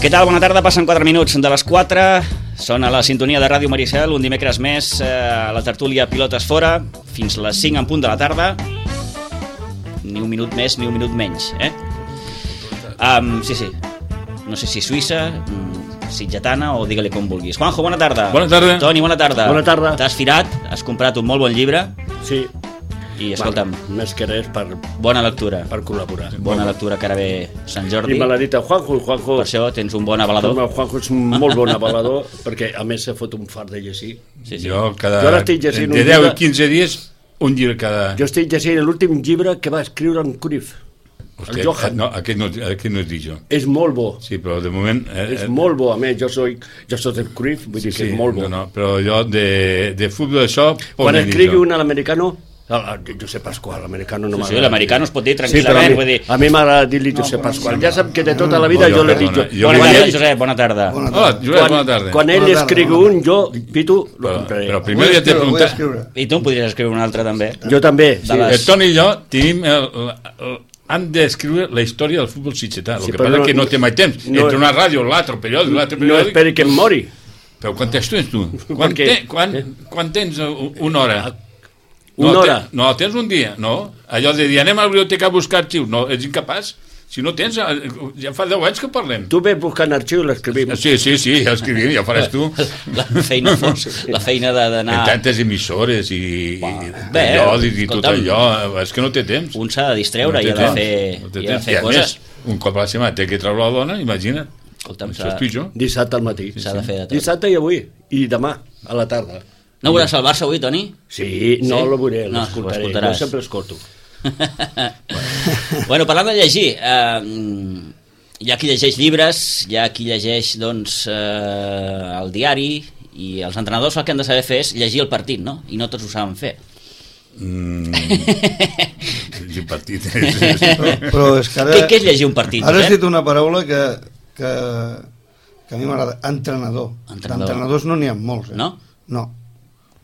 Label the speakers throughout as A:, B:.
A: Què tal? Bona tarda, passen 4 minuts de les 4. Són a la sintonia de Ràdio Maricel, un dimecres més, eh, a la tertúlia Pilotes Fora, fins les 5 en punt de la tarda. Ni un minut més, ni un minut menys, eh? Um, sí, sí. No sé si Suïssa, mm, sitgetana o digue-li com vulguis. Juanjo, bona tarda.
B: Bona tarda.
A: Toni, bona tarda.
C: Bona tarda.
A: T'has firat, has comprat un molt bon llibre
C: Sí,
A: i, escolta'm,
C: Bueno, més que res per,
A: bona lectura.
C: per col·laborar.
A: Bona lectura que ara ve Sant Jordi.
C: I me l'ha dit el Juanjo, i Juanjo,
A: Per això tens un bon avalador.
C: el Juanjo és un molt bon avalador, perquè a més s'ha fot un fart de llegir.
A: Sí, sí.
B: Jo cada...
C: Jo ara estic llegint
B: entre
C: un
B: 10
C: llibre-
B: i 15 dies, un llibre cada...
C: Jo estic llegint l'últim llibre que va escriure en Cruyff.
B: Hosti,
C: el Johan.
B: eh, No, aquest no, aquest no et dic jo.
C: És molt bo,
B: Sí, però de moment... Eh,
C: és
B: eh,
C: molt bo. A més, jo soc, jo soc del Cruyff, vull dir que és molt bo.
B: No, no, però jo de, de futbol això... poc
C: Quan
B: n'he dit
C: escrigui
B: jo.
C: un a l'americano, el- el Josep Pasqual, l'americano
A: Sí,
C: no
A: sí,
C: m'agrada.
A: l'americano es pot dir
C: Sí,
B: eh,
C: però a
A: tranquil·lament,
C: mi,
A: vull dir...
C: a mi m'agrada dir-li Josep Pasqual. Ja sap que de tota la vida
B: Bon, jo,
C: jo l'he dit jo.
B: perdona, jo
A: Bona
B: vull
A: tarda,
B: dir-
A: Josep, bona tarda.
B: Hola, Josep,
C: Quan,
B: bona tarda.
C: quan ell
D: Bona tarda,
C: escrigui
D: bona
C: un, jo, Pitu, lo
B: Però,
C: compraré.
B: però primer ja t'he
D: Ho he
B: preguntat...
D: escriure.
A: I tu en podries escriure un altre, també.
C: Jo també, sí.
A: les-
B: El Toni i jo tenim el, el, el, hem d'escriure la història del futbol sitgetà. El
C: Sí,
B: que
C: però
B: passa
C: no-
B: és que no té mai temps.
C: no-
B: Entre una ràdio, l'altre periòdic, l'altre
C: No
B: periòdic...
C: esperi que em mori.
B: Però quan tens tens tu? Quan,
C: què?
B: te, quan,
A: Eh?
B: quan tens u- una hora?
C: Una
B: no,
C: hora?
B: Te, no, tens un dia, no? Allò de dir, anem a la biblioteca a buscar arxius. No, ets incapaç. Si no tens, eh, ja fa 10 anys que parlem.
C: Tu ves buscant arxiu i l'escrivim.
B: Sí, sí, sí, ja escrivim, ja ho faràs tu.
A: La feina fos, la feina de-
B: En
A: d'anar...
B: tantes emissores i, i, i
A: Bé,
B: periòdics i tot
A: escolta'm.
B: allò. eh, És que no té temps.
A: Un s'ha de distreure
B: té
A: i ha de
B: temps, no
A: fer,
B: té
A: i ha de
B: temps.
A: fer
B: a
A: coses.
B: Més, un cop a la setmana té que treure la dona, imagina't.
A: Escolta'm,
B: Això
A: s'ha
B: és tu i jo.
C: Dissabte al matí.
A: s'ha de fer de tot.
C: Dissabte i avui. I demà, a la tarda.
A: No veuràs el Barça avui, Toni?
C: Sí, no
A: Sí?
C: lo veuré,
A: No, ho
C: l'escoltaré.
A: escoltaràs.
C: jo sempre escolto.
A: bueno, parlant de llegir, eh, hi ha qui llegeix llibres, hi ha qui llegeix doncs, eh, el diari, i els entrenadors el que han de saber fer és llegir el partit, no? I no tots ho saben fer.
B: Mm. Llegir partit. Però
D: Però és que ara...
A: Què, què és llegir un partit?
D: Ara has
A: Josep?
D: dit una paraula que, que, que a mi m'agrada. Entrenador.
A: Entrenador.
D: D'entrenadors no n'hi ha molts, eh?
A: No?
D: No.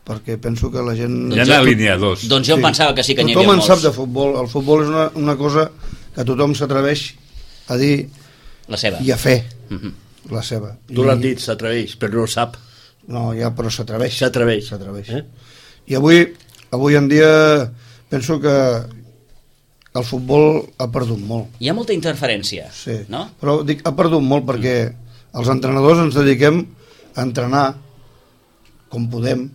D: Perquè penso que la gent...
B: Hi ha
A: jo-
B: la línia dos.
A: Doncs jo em pensava que sí que n'hi havia
D: tothom en
A: molts.
D: sap de futbol. El futbol és una, una cosa que tothom s'atreveix a dir
A: La seva.
D: i a fer.
A: Mhm.
D: La seva.
C: Tu l'has dit, s'atreveix, però no ho sap.
D: No, ja, però s'atreveix.
C: S'atreveix.
D: S'atreveix.
C: Eh?
D: I avui, avui en dia penso que el futbol ha perdut molt.
A: Hi ha molta interferència,
D: Sí.
A: no?
D: Però dic, ha perdut molt perquè els entrenadors ens dediquem a entrenar com podem,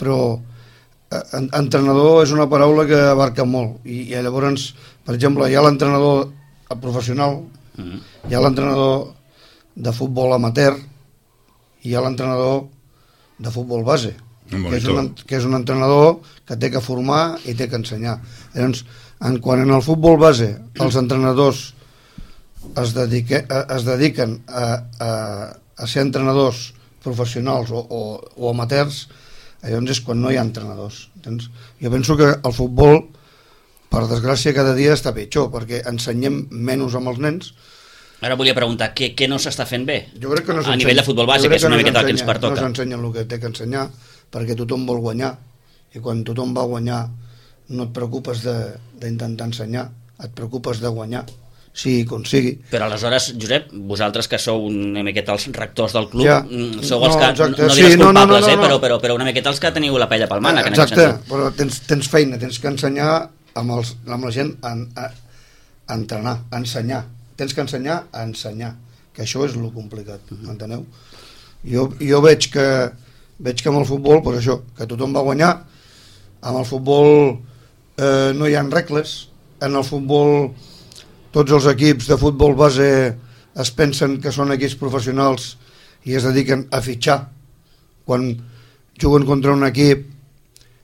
D: però eh, en- entrenador és una paraula que abarca molt i, i llavors, per exemple, hi ha l'entrenador eh, professional,
A: Mhm.
D: hi ha l'entrenador de futbol amateur i hi ha l'entrenador de futbol base
B: Un
D: que és, un,
B: monitor.
D: en- que és un entrenador que té que formar i té que ensenyar llavors, en, quan en el futbol base els entrenadors es, dedique, eh, es dediquen a, a, a ser entrenadors professionals o, o, o amateurs llavors és quan no hi ha entrenadors entens? jo penso que el futbol per desgràcia cada dia està pitjor perquè ensenyem menys amb els nens
A: Ara volia preguntar què, què no s'està fent bé
D: jo crec que no
A: a
D: s'ensenya.
A: nivell de futbol
D: Jo
A: base,
D: crec
A: que és una
D: no
A: miqueta el que ens
D: s'ensenya, No
A: pertoca.
D: s'ensenya el que té que ensenyar, perquè tothom vol guanyar, i quan tothom va guanyar no et preocupes de- d'intentar ensenyar, et preocupes de guanyar, sigui com sigui.
A: Però aleshores, Josep, vosaltres que sou una miqueta els rectors del club,
D: Ja.
A: mm, sou
D: No,
A: els que,
D: exacte.
A: no, no diràs
D: Sí, no, no,
A: culpables,
D: no, no,
A: eh,
D: no.
A: però, però, però una miqueta els que teniu la pella pel mànec, en aquest
D: Exacte,
A: sentit.
D: però tens, tens feina, tens que ensenyar amb, els, amb la gent a, a, a entrenar, a ensenyar. Tens que ensenyar a ensenyar, que això és lo complicat,
A: Mhm.
D: m'enteneu? Jo, jo veig que veig que amb el futbol, pues això, que tothom va guanyar, amb el futbol eh, no hi ha regles, en el futbol tots els equips de futbol base es pensen que són equips professionals i es dediquen a fitxar quan juguen contra un equip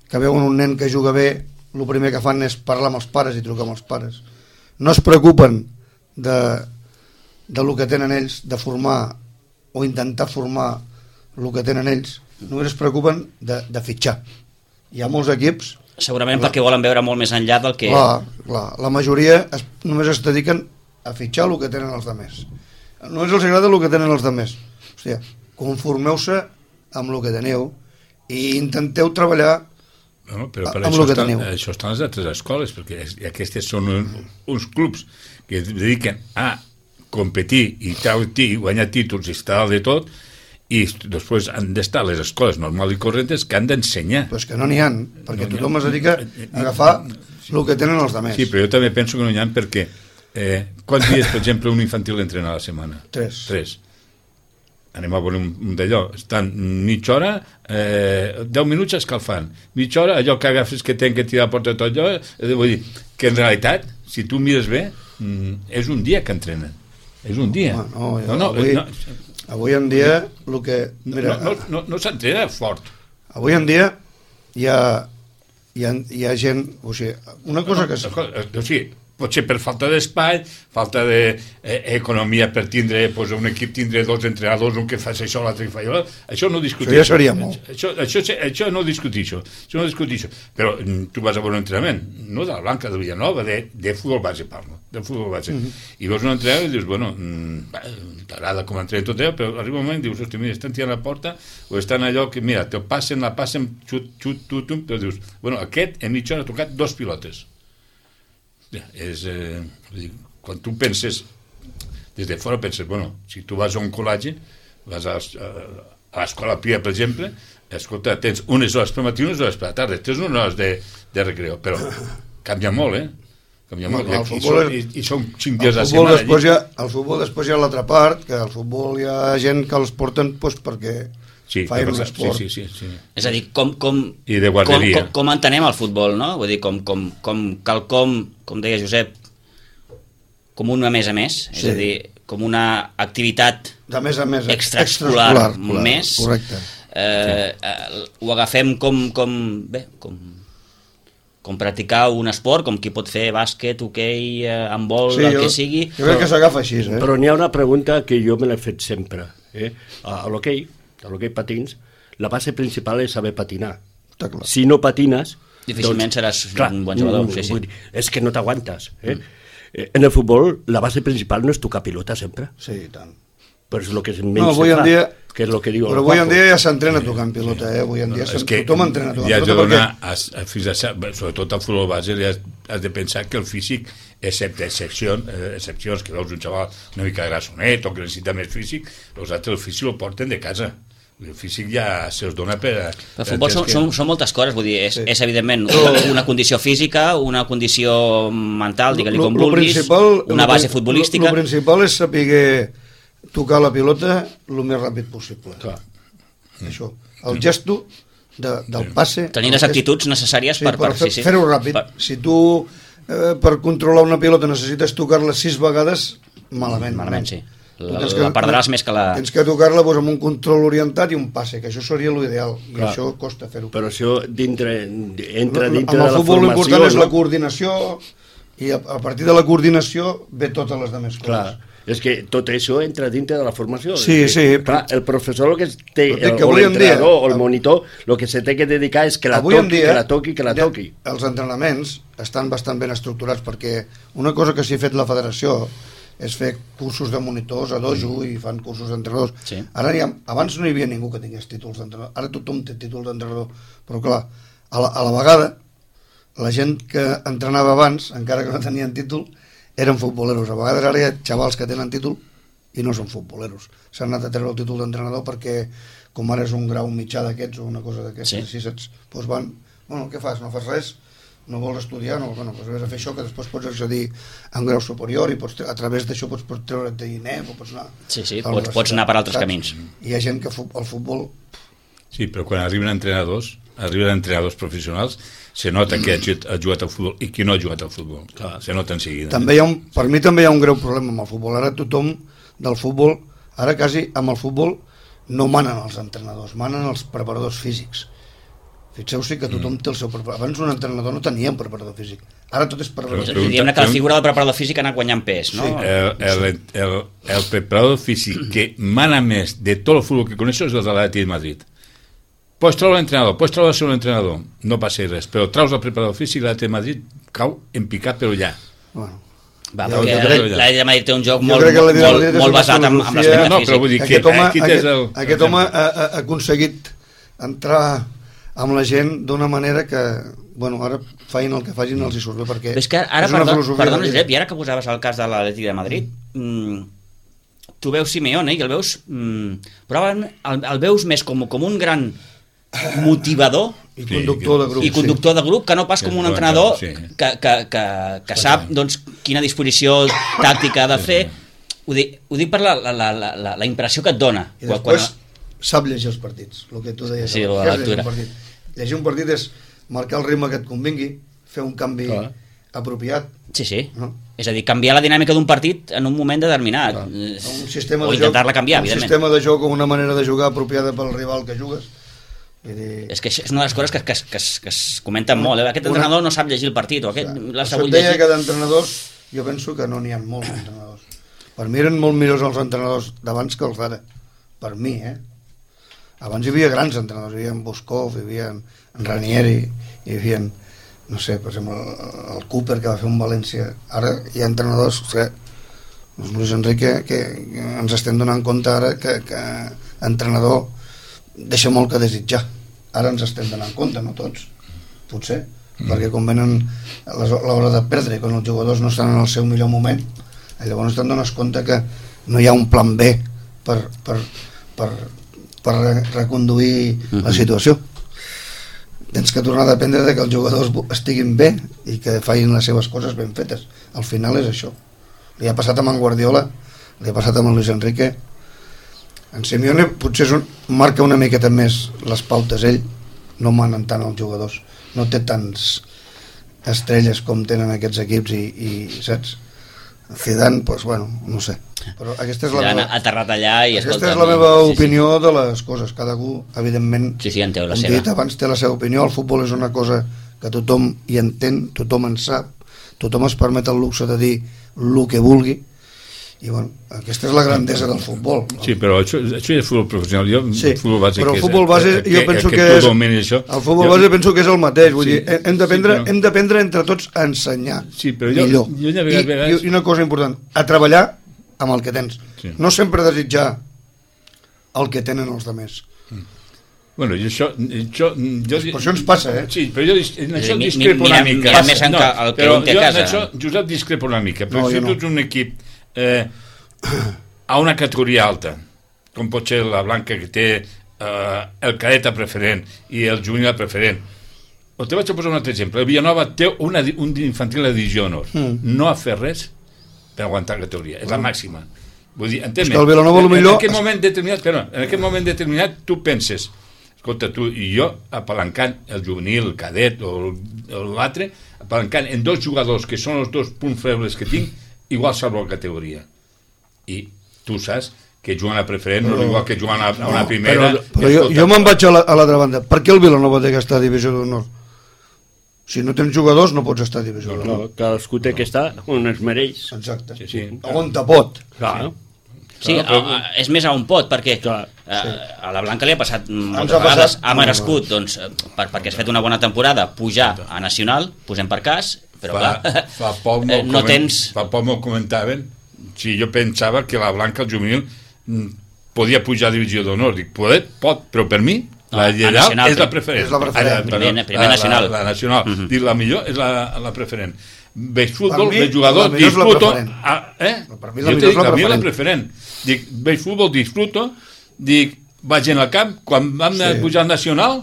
D: que veuen un nen que juga bé, el primer que fan és parlar amb els pares i trucar amb els pares. No es preocupen de, de lo que tenen ells, de formar o intentar formar el que tenen ells, només es preocupen de, de fitxar. Hi ha molts equips,
A: Segurament perquè volen veure molt més enllà del que...
D: clar, clar, la majoria es, només es dediquen a fitxar el que tenen els altres. Només els agrada el que tenen els altres. Hòstia, conformeu-se amb el que teniu i intenteu treballar
B: No, però per
D: Amb
B: això,
D: lo que
B: estan,
D: teniu.
B: això estan les altres escoles, perquè és- i aquestes són un, uns clubs que es dediquen a competir i tal, i guanyar títols i estar dalt de tot, i després han d'estar les escoles normals i correntes que han d'ensenyar.
D: Però és que no n'hi ha,
B: No
D: perquè
B: n'hi ha. Eh,
D: tothom es dedica a agafar el que tenen els altres.
B: Sí, però jo també penso que no hi ha perquè eh, quants dies, per exemple, un infantil entrena a la setmana?
D: Tres.
B: Tres. Anem a veure un, un d'allò. Estan mitja hora, eh, deu minuts escalfant. Mitja hora, allò que agafes que tenen que tirar a porta tot allò, eh, vull dir, que en realitat, si tu mires bé, mm, és un dia que entrenen. És un dia.
D: Home, no, jo, avui, avui en dia el que... Mira,
B: eh, no, no, no, no s'entrena fort.
D: avui en dia hi ha, hi ha, hi ha gent... O sigui, una cosa que...
B: Escolta, O sigui, potser per falta d'espai, falta d'economia per tindre, pues, un equip tindre dos entrenadors, un que fa això, l'altre que fa allò, això no ho discuteixo.
D: Això ja seria molt.
B: Això, això, això, això no ho discuteixo, això no ho discuteixo. Però mm, tu vas a veure un entrenament, no de la Blanca, de Villanova, de, de futbol base parlo, de futbol base.
D: Mhm.
B: Mm -hmm. I veus un entrenament i dius, bueno, mm, va, t'agrada com entrena tot allò, però arriba un moment i dius, hosti, mira, estan tirant la porta o estan allò que, mira, te passen, la passen, xut, xut, tu, tu, però dius, bueno, aquest en mitja hora ha tocat dos pilotes. Ja, és, eh, vull dir, quan tu penses, des de fora penses, bueno, si tu vas a un col·legi, vas a, a, a l'escola Pia, per exemple, escolta, tens unes hores per matí, unes hores per la tarda, tens unes hores de, de recreo, però canvia molt, eh? Canvia molt. I,
D: Bueno, el
B: aquí
D: futbol
B: són, i,
D: és-
B: i són cinc
D: El
B: dies a la
D: futbol,
B: setmana.
D: després hi ha, el futbol després hi ha l'altra part, que el futbol hi ha gent que els porten doncs, perquè
B: Sí,
D: fa
B: sí,
D: l'esport.
B: sí, sí, sí.
E: És a dir, com, com,
B: I
E: com,
B: de
E: com,
B: guarderia.
E: com entenem el futbol, no? Vull dir, com, com, com quelcom, com deia Josep, com un a més a més, és
D: Sí.
E: a dir, com una activitat
D: De més a més.
E: extraescolar,
D: extraescolar,
E: més,
D: Correcte.
E: eh, eh, ho agafem com, com, bé, com, com practicar un esport, com qui pot fer bàsquet, hoquei, okay, handbol, sí, el que sigui.
D: Jo crec que s'agafa així, eh?
C: Però n'hi ha una pregunta que jo me l'he fet sempre. Eh? A, a l'hoquei, a l'hoquei patins, la base principal és saber patinar.
D: Està clar.
C: Si no patines... doncs,
E: Difícilment seràs un bon jugador,
C: mm,
E: sí, sí.
C: vull dir, És que no t'aguantes. Eh? Mm. En el futbol, la base principal no és tocar pilota sempre,
D: Sí, i tant.
C: però és el que menys
D: No, avui
C: se
D: en
C: fa,
D: dia...
C: que és el que diu
D: Però
C: el
D: avui en
C: Paco.
D: dia ja s'entrena tocant pilota, eh? Avui en dia no, que, tothom entrena tocant
B: ja has de
D: pilota
B: donar,
D: perquè...
B: has, has- fins a, cert- bé, sobretot al futbol base, li has, has de pensar que el físic, excepte excepcions, eh, excepcions que veus un xaval una mica grassonet o que necessita més físic, els altres el físic el porten de casa. El físic ja se'ls dona per... a-
E: El futbol
B: per
E: són,
B: entendre
E: són, són moltes coses, vull dir, és,
D: Sí.
E: sí. és evidentment una, una condició física, una condició mental, digue-li
D: Lo-
E: com
D: lo
E: vulguis,
D: principal-
E: una
D: lo-
E: base
D: lo-
E: futbolística...
D: El principal és saber tocar la pilota el més ràpid possible.
B: Clar.
D: Això. El gesto de, del passe...
E: Tenir
D: el
E: les
D: gest-
E: actitudes necessàries
D: Sí,
E: per, per,
D: fer-
E: sí, sí.
D: fer-ho ràpid.
E: Per-
D: Si tu eh, per controlar una pilota necessites tocar-la sis vegades, malament.
E: Malament, sí.
D: Tu
E: La-
D: tens
E: la perdràs més que la-
D: Tens que tocar-la doncs, amb un control orientat i un passe, que això seria l'ideal, i
C: Clar.
D: això costa fer-ho.
C: Però això dintre, entra
D: Amb
C: dintre
D: el
C: de la
D: futbol
C: formació...
D: l'important és
C: no?
D: la coordinació i a, a partir de la coordinació ve totes les altres coses.
C: Clar, és que tot això entra dintre de la formació.
D: Sí,
C: és que,
D: sí,
C: Clar, el professor, el que es té,
D: Però dic
C: el,
D: que
C: o
D: avui en
C: l'entrenador,
D: dia-
C: o el monitor, el que se té que dedicar és que la
D: Avui en
C: toqui,
D: dia,
C: que la toqui, que la
D: ja,
C: toqui.
D: Els entrenaments estan bastant ben estructurats perquè una cosa que s'hi ha fet la federació és fer cursos de monitors a dojo
C: Mm.
D: i fan cursos d'entrenadors.
E: Sí.
D: Ara hi ha, abans no hi havia ningú que tingués títols d'entrenador. Ara tothom té títol d'entrenador. Però clar, a la, a la vegada la gent que entrenava abans, encara que no tenien títol, eren futboleros. A vegades ara hi ha xavals que tenen títol i no són futboleros. S'han anat a treure el títol d'entrenador perquè, com ara és un grau mitjà d'aquests o una cosa d'aquestes,
E: Sí.
D: sí. així saps? Doncs van, bueno, què fas? No fas res? No vols estudiar? No, bueno, doncs vés a fer això que després pots accedir a un grau superior i pots, tre- a través d'això pots, pots treure't de INEP o pots anar...
E: Sí, sí,
D: a la
E: pots- pots
D: universitat,
E: anar per altres
D: saps?
E: camins.
D: Hi ha gent que fu- el futbol...
B: Sí, però quan arriben entrenadors, arriben entrenadors professionals, se nota que ha jut- ha jugat al futbol i qui no ha jugat al futbol. Clar. Se nota en seguida.
D: També hi ha un, per mi també hi ha un greu problema amb el futbol. Ara tothom del futbol, ara quasi amb el futbol no manen els entrenadors, manen els preparadors físics. Fixeu-s'hi que tothom
B: Mm.
D: té el seu preparador. Abans un entrenador no tenia un preparador físic. Ara tot és preparador
B: Però-
D: físic.
E: Diguem-ne que la figura del preparador físic ha anat guanyant pes, no?
D: Sí.
B: El, el, el, el preparador físic que mana més de tot el futbol que coneixo és el de l'Atlètic de Madrid. Pots treure l'entrenador, pots treure el seu entrenador, no passa res, però traus el preparador físic i l'Atlètic de Madrid cau en picat però ja.
D: Bueno,
E: Va,
D: Jo
E: perquè
D: crec-
E: la l'Atlètic de Madrid té un joc
D: Jo
E: molt,
D: crec que
E: molt,
D: l'Atlètic de
E: molt,
D: Madrid és
E: molt
D: una
E: basat en, en
D: filosofia-
E: l'esquema
B: No,
E: no,
B: no, però vull
E: físic.
B: dir que
D: aquest home,
B: aquí tens
D: aquest,
B: el...
D: aquest home ha, ha, ha aconseguit entrar amb la gent d'una manera que, bueno, ara facin el que facin els hi surt bé, perquè
E: Però és que ara,
D: una
E: perdó,
D: filosofia
E: perdona,
D: de vida.
E: Josep, i ara que posaves el cas de l'Atlètic de Madrid, mm, tu veus Simeone i el veus... Mm, probablement el, el veus més com, com un gran motivador
D: I
B: Sí,
D: conductor de grup.
E: i conductor de grup que no pas com un entrenador
B: Sí.
E: que, que, que, que sap doncs, quina disposició tàctica ha de fer. Ho dic, ho dic per la, la, la, la, la impressió que et dona.
D: Sí. I després sap llegir els partits, el que tu deies.
E: Sí,
D: abans.
E: la
D: Què és
E: lectura.
D: Llegir un, partit? llegir un partit és marcar el ritme que et convingui, fer un canvi
C: Clar.
D: apropiat,
E: Sí, sí.
D: No?
E: És a dir, canviar la dinàmica d'un partit en un moment determinat.
D: Clar.
E: Eh,
D: un sistema
E: o
D: de
E: intentar-la
D: joc,
E: canviar,
D: un
E: evidentment.
D: sistema de joc o una manera de jugar apropiada pel rival que jugues. Vull dir,
E: És que això és una de les coses que, que, es- que, es- que es comenten molt. Eh? Aquest
D: Una-
E: entrenador no sap llegir el partit, o aquest
D: clar,
E: l'ha
D: això
E: sabut
D: et deia
E: llegir.
D: que d'entrenadors, jo penso que no n'hi ha molts entrenadors. Per mi eren molt millors els entrenadors d'abans que els d'ara. Per mi, eh? Abans hi havia grans entrenadors, hi havia en Boscov, hi havia en en Ranieri, hi havia, en, no sé, per exemple, el- el Cooper que va fer un València. Ara hi ha entrenadors que doncs Luis Enrique que, que ens estem donant compte ara que, que entrenador deixa molt que desitjar ara ens estem donant compte, no tots potser, mm. perquè quan venen a les- l'hora de perdre, quan els jugadors no estan en el seu millor moment eh, llavors te'n dones compte que no hi ha un plan B per, per, per, per re- reconduir la situació tens que tornar a dependre de que els jugadors bu- estiguin bé i que facin les seves coses ben fetes al final és això li ha passat amb en Guardiola li ha passat amb en Luis Enrique en Simeone potser és un, marca una miqueta més les pautes ell no manen tant els jugadors no té tants estrelles com tenen aquests equips i, i saps Zidane, doncs, bueno, no sé però aquesta és la,
E: Zidane ha
D: meva,
E: aterrat allà i...
D: aquesta
E: escolta,
D: és la
E: no,
D: meva
E: sí, sí.
D: opinió de les coses cadascú evidentment
E: Sí, sí, en té la
D: com
E: seva.
D: dit abans té la seva opinió, el futbol és una cosa que tothom hi entén, tothom en sap, tothom es permet el luxe de dir el que vulgui, i bueno, aquesta és la grandesa del futbol.
B: Sí, però això, això és futbol professional. Jo,
D: Sí,
B: el futbol base
D: però
B: que
D: el
B: és-
D: futbol base
B: eh,
D: jo penso
B: que,
D: que
B: tu
D: és-
B: dominis això.
D: El futbol
B: Jo-
D: base penso que és el mateix, vull
B: Sí,
D: dir, hem- hem d'aprendre
B: sí, però-
D: hem d'aprendre entre tots a ensenyar
B: Sí, però jo-
D: millor.
B: jo de vegades-
D: I,
B: vegades-
D: I una cosa important, a treballar amb el que tens.
B: Sí.
D: No sempre desitjar el que tenen els altres.
B: Bueno, i això... això jo,
D: Per això ens passa, eh?
B: Sí, però jo dis- en això
E: mi-
B: discrepo
E: mi-
B: una
E: mira-
B: mica.
E: mira més en ca- el que
B: però
E: un que
B: jo en
E: casa.
B: Això, Josep, discrepo una mica. Però
D: No,
B: si
D: jo
B: tu
D: no.
B: ets un equip eh, a una categoria alta, com pot ser la blanca que té eh, el cadeta preferent i el juvenil preferent, o te vaig a posar un altre exemple. El Villanova té una, di- un infantil de divisió d'honor. Mm. No ha fet res per aguantar la categoria. És la màxima. Vull dir, entén-me.
D: Mm. És que el Vilanova, lo
B: En-
D: millor-
B: En aquest moment determinat, però, en aquest moment determinat tu penses, escolta, tu i jo apalancant el juvenil, el cadet o el- o l'altre, apalancant en dos jugadors que són els dos punts febles que tinc, igual salvo la categoria. I tu saps que jugant a preferent no és igual que jugant a, a una primera.
D: Però, però jo,
B: Escolta,
D: jo me'n vaig a la- a l'altra banda. Per què el Vilanova té que estar a divisió d'honor? Si no tens jugadors no pots estar a divisió d'honor.
C: No, cadascú té que estar on es mereix.
D: Exacte.
B: Sí, sí.
D: On te pot.
C: Clar,
E: Sí,
B: Clar,
E: a,
B: però-
E: a, és més a un pot, perquè
C: Clar,
E: a, a la Blanca li ha passat moltes
D: ha
E: ha vegades,
D: passat
E: ha merescut,
D: molt.
E: doncs, eh, per, perquè has fet una bona temporada, pujar a Nacional, posem per cas, però
B: fa,
E: clar,
B: fa
E: eh,
B: poc m'ho
E: no
B: comen-
E: tens...
B: fa poc m'ho comentaven si jo pensava que la Blanca el juvenil mm, podia pujar a divisió d'honor dic, pot, pot, però per mi la
E: a
B: general
E: nacional,
B: és la
E: prim-
B: preferent.
D: és la preferent.
B: Ara, perdó, Ah,
E: Primer- primer
B: la-
E: nacional. Mhm.
B: La, la nacional. Dic, la millor és la, la preferent. Veig futbol,
D: Per mi,
B: veig jugador,
D: la millor és la
B: disfruto...
D: preferent.
B: A, eh?
D: Per mi la
B: jo
D: millor
B: te
D: és
B: dic,
D: la
B: a mi la
D: preferent.
B: preferent. Dic, veig futbol, disfruto, dic, vaig en el camp, quan vam anar a
D: Sí.
B: pujar al nacional,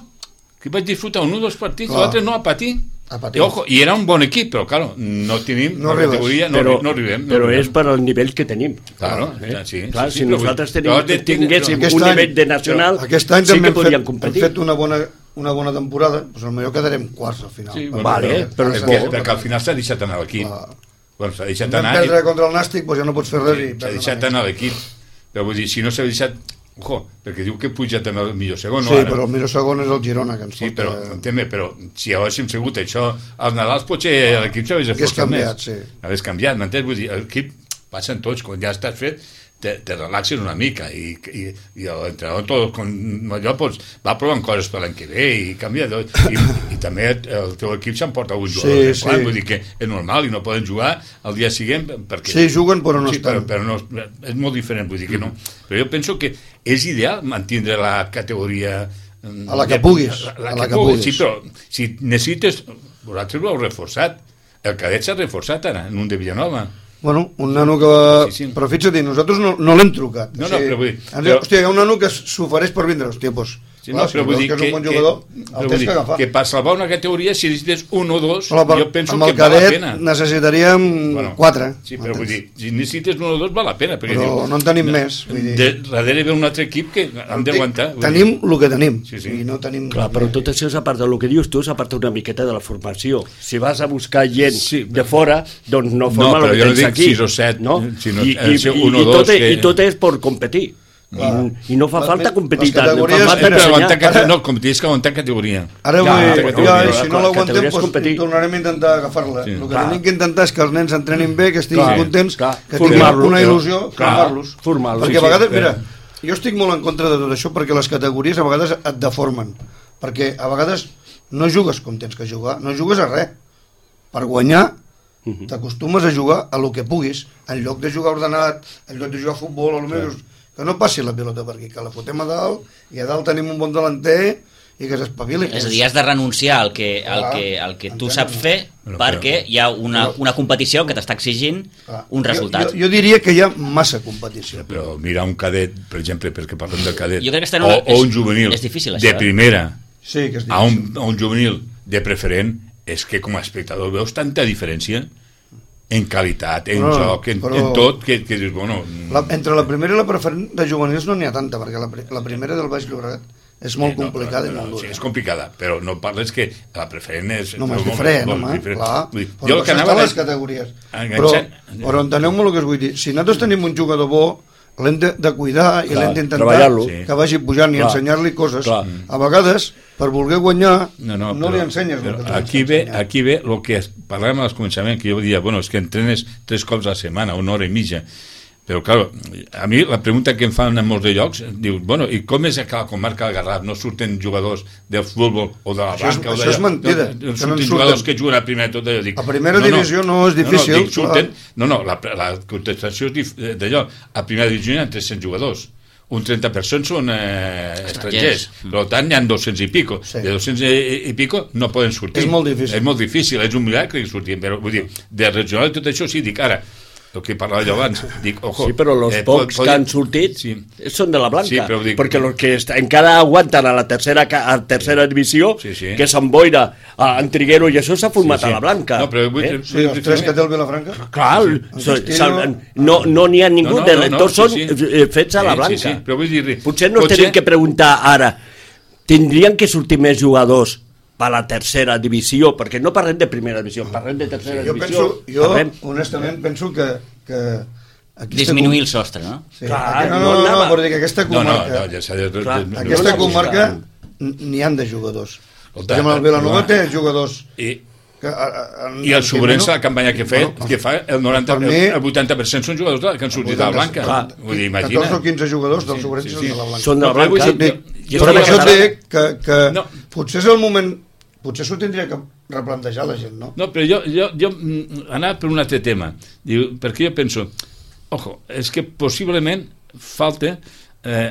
B: que vaig disfrutar un o dos partits,
D: Clar.
B: l'altre no a patir.
D: A
B: I,
D: patir.
B: ojo, i era un bon equip, però, claro, no tenim
D: No
B: la
D: arribes.
B: categoria, no,
C: però,
B: arri- no arribem. No
C: però
B: arribem.
C: és per al nivell que tenim.
B: Claro,
C: eh?
B: sí, sí,
C: Clar,
B: sí,
C: si
B: però
C: nosaltres
B: vull-
C: tenim,
B: però de-
C: tinguéssim
D: Aquest
C: un
D: any-
C: nivell de nacional,
D: Aquest any
C: sí
D: també
C: que
D: hem
C: podríem
D: fet,
C: competir.
D: hem fet una bona, una bona temporada, doncs potser quedarem quarts al final.
B: Sí,
D: Vam
B: bueno,
C: Vale,
B: però,
C: eh, però és
B: perquè,
C: bo.
B: perquè al final s'ha deixat anar l'equip.
D: Ah.
B: Bueno, s'ha deixat anar... i-
D: perdre contra el Nàstic, doncs ja no pots fer res. i
B: s'ha
D: perdre
B: deixat
D: una mica.
B: anar l'equip. Però vull dir, si no s'ha deixat... Ojo, perquè diu que puja també el millor segon, no
D: Sí,
B: ara.
D: però el millor segon és el Girona, que ens
B: Sí,
D: porta-
B: però, entén però si haguéssim sigut això als Nadals, potser l'equip s'hagués
D: Hagués
B: esforçat més.
D: canviat, sí.
B: Hagués canviat, m'entens? Vull dir, l'equip passen tots, quan ja estàs fet, te, te relaxes una mica i, i, i l'entrenador tot, com, allò, doncs, va provant coses per l'any que ve i canvia tot. I, i també el teu equip s'emporta un jugador
D: Sí,
B: sí, sí.
D: sí.
B: vull dir que és normal i no poden jugar el dia següent perquè...
D: Sí, juguen, però no
B: sí,
D: estan. Mm.
B: Però, però no, és molt diferent, vull dir que no. Però jo penso que és ideal mantenir la categoria mm,
D: A la que puguis,
B: la, la que, puguis. Sí, però si necessites... Vosaltres ho heu reforçat. El cadet s'ha reforçat ara, en un de Villanova.
D: Bueno, un nano que...
B: Sí, sí.
D: Però fixa't, nosaltres no, no l'hem trucat.
B: No, no, però vull dir-
D: ens-
B: però-
D: Hòstia, hi ha un nano que s'ofereix per vindre. Hòstia, doncs...
B: Sí, no, però vull dir
D: que és un bon jugador,
B: però
D: el
B: vull
D: tens
B: dir
D: que agafar.
B: que per salvar una categoria, si necessites un o dos,
D: Però per,
B: jo penso
D: amb
B: que
D: el
B: val la
D: cadet
B: pena.
D: necessitaríem
B: Bueno,
D: quatre.
B: Sí, però vull dir, si necessites un o dos, val la pena. Perquè
D: Però
B: dius,
D: no en tenim més, vull dir.
B: de, darrere ve un altre equip que hem d'aguantar. vull
D: Eh, Tenim el que tenim.
B: Sí, sí.
D: I no tenim...
C: Clar, però tot això és a part del que dius tu, és a part una miqueta de la formació. Si vas a buscar gent sí,
B: Sí,
C: de fora, doncs no forma
B: però
C: el que
B: jo no
C: tens
B: dic
C: aquí.
B: sis o set,
C: no?
B: si no,
C: I,
B: ha de
C: i,
B: ser
C: i,
B: un o
C: i,
B: dos
C: tot,
B: que-
C: que... I tot és per competir. I, I no fa
D: Les-
C: falta
D: les
C: competir tant, no fa
D: categories-
B: Però
C: falta
D: Espera,
B: aguantar
C: ensenyar.
B: cate- no, com tens que aguantar categoria.
D: Ara
C: Ja,
D: vull...
C: però
D: ja,
C: categoria-
D: i si no l'aguaguantem,
C: categoria és
D: doncs,
C: competir.
D: tornarem a intentar agafar-la.
B: Sí.
D: el que
C: Clar.
D: tenim que intentar és que els nens entrenin bé, que estiguin
C: Clar,
D: contents,
C: clar.
D: que tinguin
C: Formar-los,
D: una
C: però-
D: il·lusió,
C: eh, clar,
D: formar-los.
C: formar-los,
D: Perquè
C: sí, eh.
D: a vegades,
B: sí,
D: mira,
B: però-
D: jo estic molt en contra de tot això perquè les categories a vegades et deformen. Perquè a vegades no jugues com tens que jugar, no jugues a res. Per guanyar Mhm. t'acostumes a jugar a lo que puguis, en lloc de jugar ordenat, en lloc de jugar a futbol, o almenys que no passi la pilota per aquí, que la fotem a dalt, i a dalt tenim un bon delanter, i que s'espavili.
A: És a dir, has de renunciar al que, al
D: Clar,
A: que, al que tu
D: entenem.
A: saps fer
B: Però,
A: perquè
B: però-
A: hi ha una,
D: però-
A: una competició que t'està exigint
D: Clar.
A: un resultat.
D: Jo, jo, jo diria que hi ha massa competició.
B: Però mirar un cadet, per exemple, perquè parlem del cadet,
A: Jo crec que estan
B: o,
A: una-
B: o un
A: és-
B: juvenil
A: és difícil, això,
B: de
A: eh?
B: primera
D: Sí, que és
B: a
D: difícil.
B: un, a un juvenil de preferent, és que com a espectador veus tanta diferència en qualitat, en
D: Però-
B: joc, en,
D: però-
B: en tot, que, que dius, bueno... mm,
D: La, entre la primera i la preferent de juvenils no n'hi ha tanta, perquè la, pri- la primera del Baix Llobregat és
B: eh,
D: molt
B: no,
D: complicada
B: però-
D: i molt
B: Sí,
D: dura.
B: és complicada, però no parles que la preferent és...
D: No, home, és
B: molt-
D: diferent,
B: molt
D: home,
B: diferent.
D: clar.
B: Vull dir,
D: Però
B: jo el que anava...
D: estan les
B: era-
D: categories. Però,
B: enganxant-
D: però enteneu-me el que us vull dir. Si nosaltres tenim un jugador bo, l'hem de, de cuidar i
C: Clar,
D: l'hem d'intentar
C: treballar-lo.
B: Sí.
D: que vagi pujant i
C: Clar.
D: ensenyar-li coses.
C: Clar.
D: A vegades, per voler guanyar,
B: No, no,
D: li ensenyes
B: però
D: el que
B: aquí ve, aquí ve el que es- parlàvem al començament, que jo dia, bueno, és que entrenes tres cops a la setmana, una hora i mitja. Però, clar, a mi la pregunta que em fan en molts de llocs, diu, bueno, i com és que a la comarca del Garraf no surten jugadors del futbol o de la
D: Això és-
B: banca? o
D: això
B: d'allò?
D: és mentida,
B: No, no,
D: que no en
B: surten
D: surten.
B: jugadors que juguen a primera i tot allò. Dic,
D: A primera divisió no és difícil,
B: No, no, dic, surten,
D: clar.
B: no, no la, la contestació és dif- d'allò. A primera divisió hi ha 300 jugadors. Un 30% són eh, estrangers.
A: Estrangers.
B: Per tant, n'hi ha 200 i pico.
D: Mm. Sí.
B: Sí. De 200 i, i pico no poden sortir.
D: És molt difícil.
B: És molt difícil, és un miracle que surtin, però vull dir, de regional i tot això sí, dic ara, el que parlava jo abans, dic, ojo...
C: Sí, però els
B: eh,
C: pocs
B: po-
C: que han
B: poden-
C: sortit sí.
B: Sí.
C: són de la blanca,
B: Sí, però dic-
C: perquè els que est- encara aguanten a la tercera, ca- a la tercera divisió,
B: Sí, sí.
C: que s'emboira a en Triguero, i això s'ha format
B: Sí, sí.
C: a la blanca. eh?
B: No, però vull dir-
D: Sí, els tres que té el Vilafranca...
C: Clar,
D: sí.
C: so-
D: Existir
C: s'ha-
D: no-
C: no n'hi no, n'hi ha
B: No,
C: ningú,
B: no,
C: de,
B: no, no,
C: tots
B: sí,
C: són
B: sí.
C: eh, fets a
B: Sí,
C: la
B: sí,
C: blanca.
B: sí, però vull dir-
C: Potser no
B: potser-
C: tenim que preguntar ara, tindrien que sortir més jugadors per la tercera divisió, perquè no parlem de primera divisió, parlem de tercera
D: Jo
C: divisió.
D: penso, jo
C: parlem...
D: honestament penso que... que aquesta
A: Disminuir el
D: com-
A: sostre, no?
D: Sí,
C: Clar,
D: aquí, no,
C: no
D: no, no, no,
C: anava.
D: però dic, aquesta
B: No, no,
D: comarca...
B: no, ja s'ha de...
C: Clar,
B: no,
D: Aquesta
B: no,
C: anava
D: comarca
C: buscant.
D: n- n'hi han de jugadors.
B: Escolta,
D: Escolta, el Vilanova
B: clar.
D: té jugadors
B: I,
D: que, a, a,
B: I el Sobrense, la campanya que, fet, que fa, el, 90,
D: Per mi-
B: el, el 80% són jugadors de- que han sortit de la blanca.
D: doncs, Clar,
B: Vull dir, imagina.
D: 14 o 15 jugadors del Sobrense
B: sí,
D: sí,
B: sí.
D: de la Blanca.
C: Són de la
B: No, però
C: blanca.
B: vull dir-
C: Dic,
B: jo-
D: però
B: jo-
D: per això et
B: jo-
D: dic que, que no.
B: No.
D: potser és el moment... Potser s'ho tindria que replantejar la gent, no?
B: No, però jo, jo, jo mm, anava per un altre tema, Diu, perquè jo penso, ojo, és que possiblement falta, eh,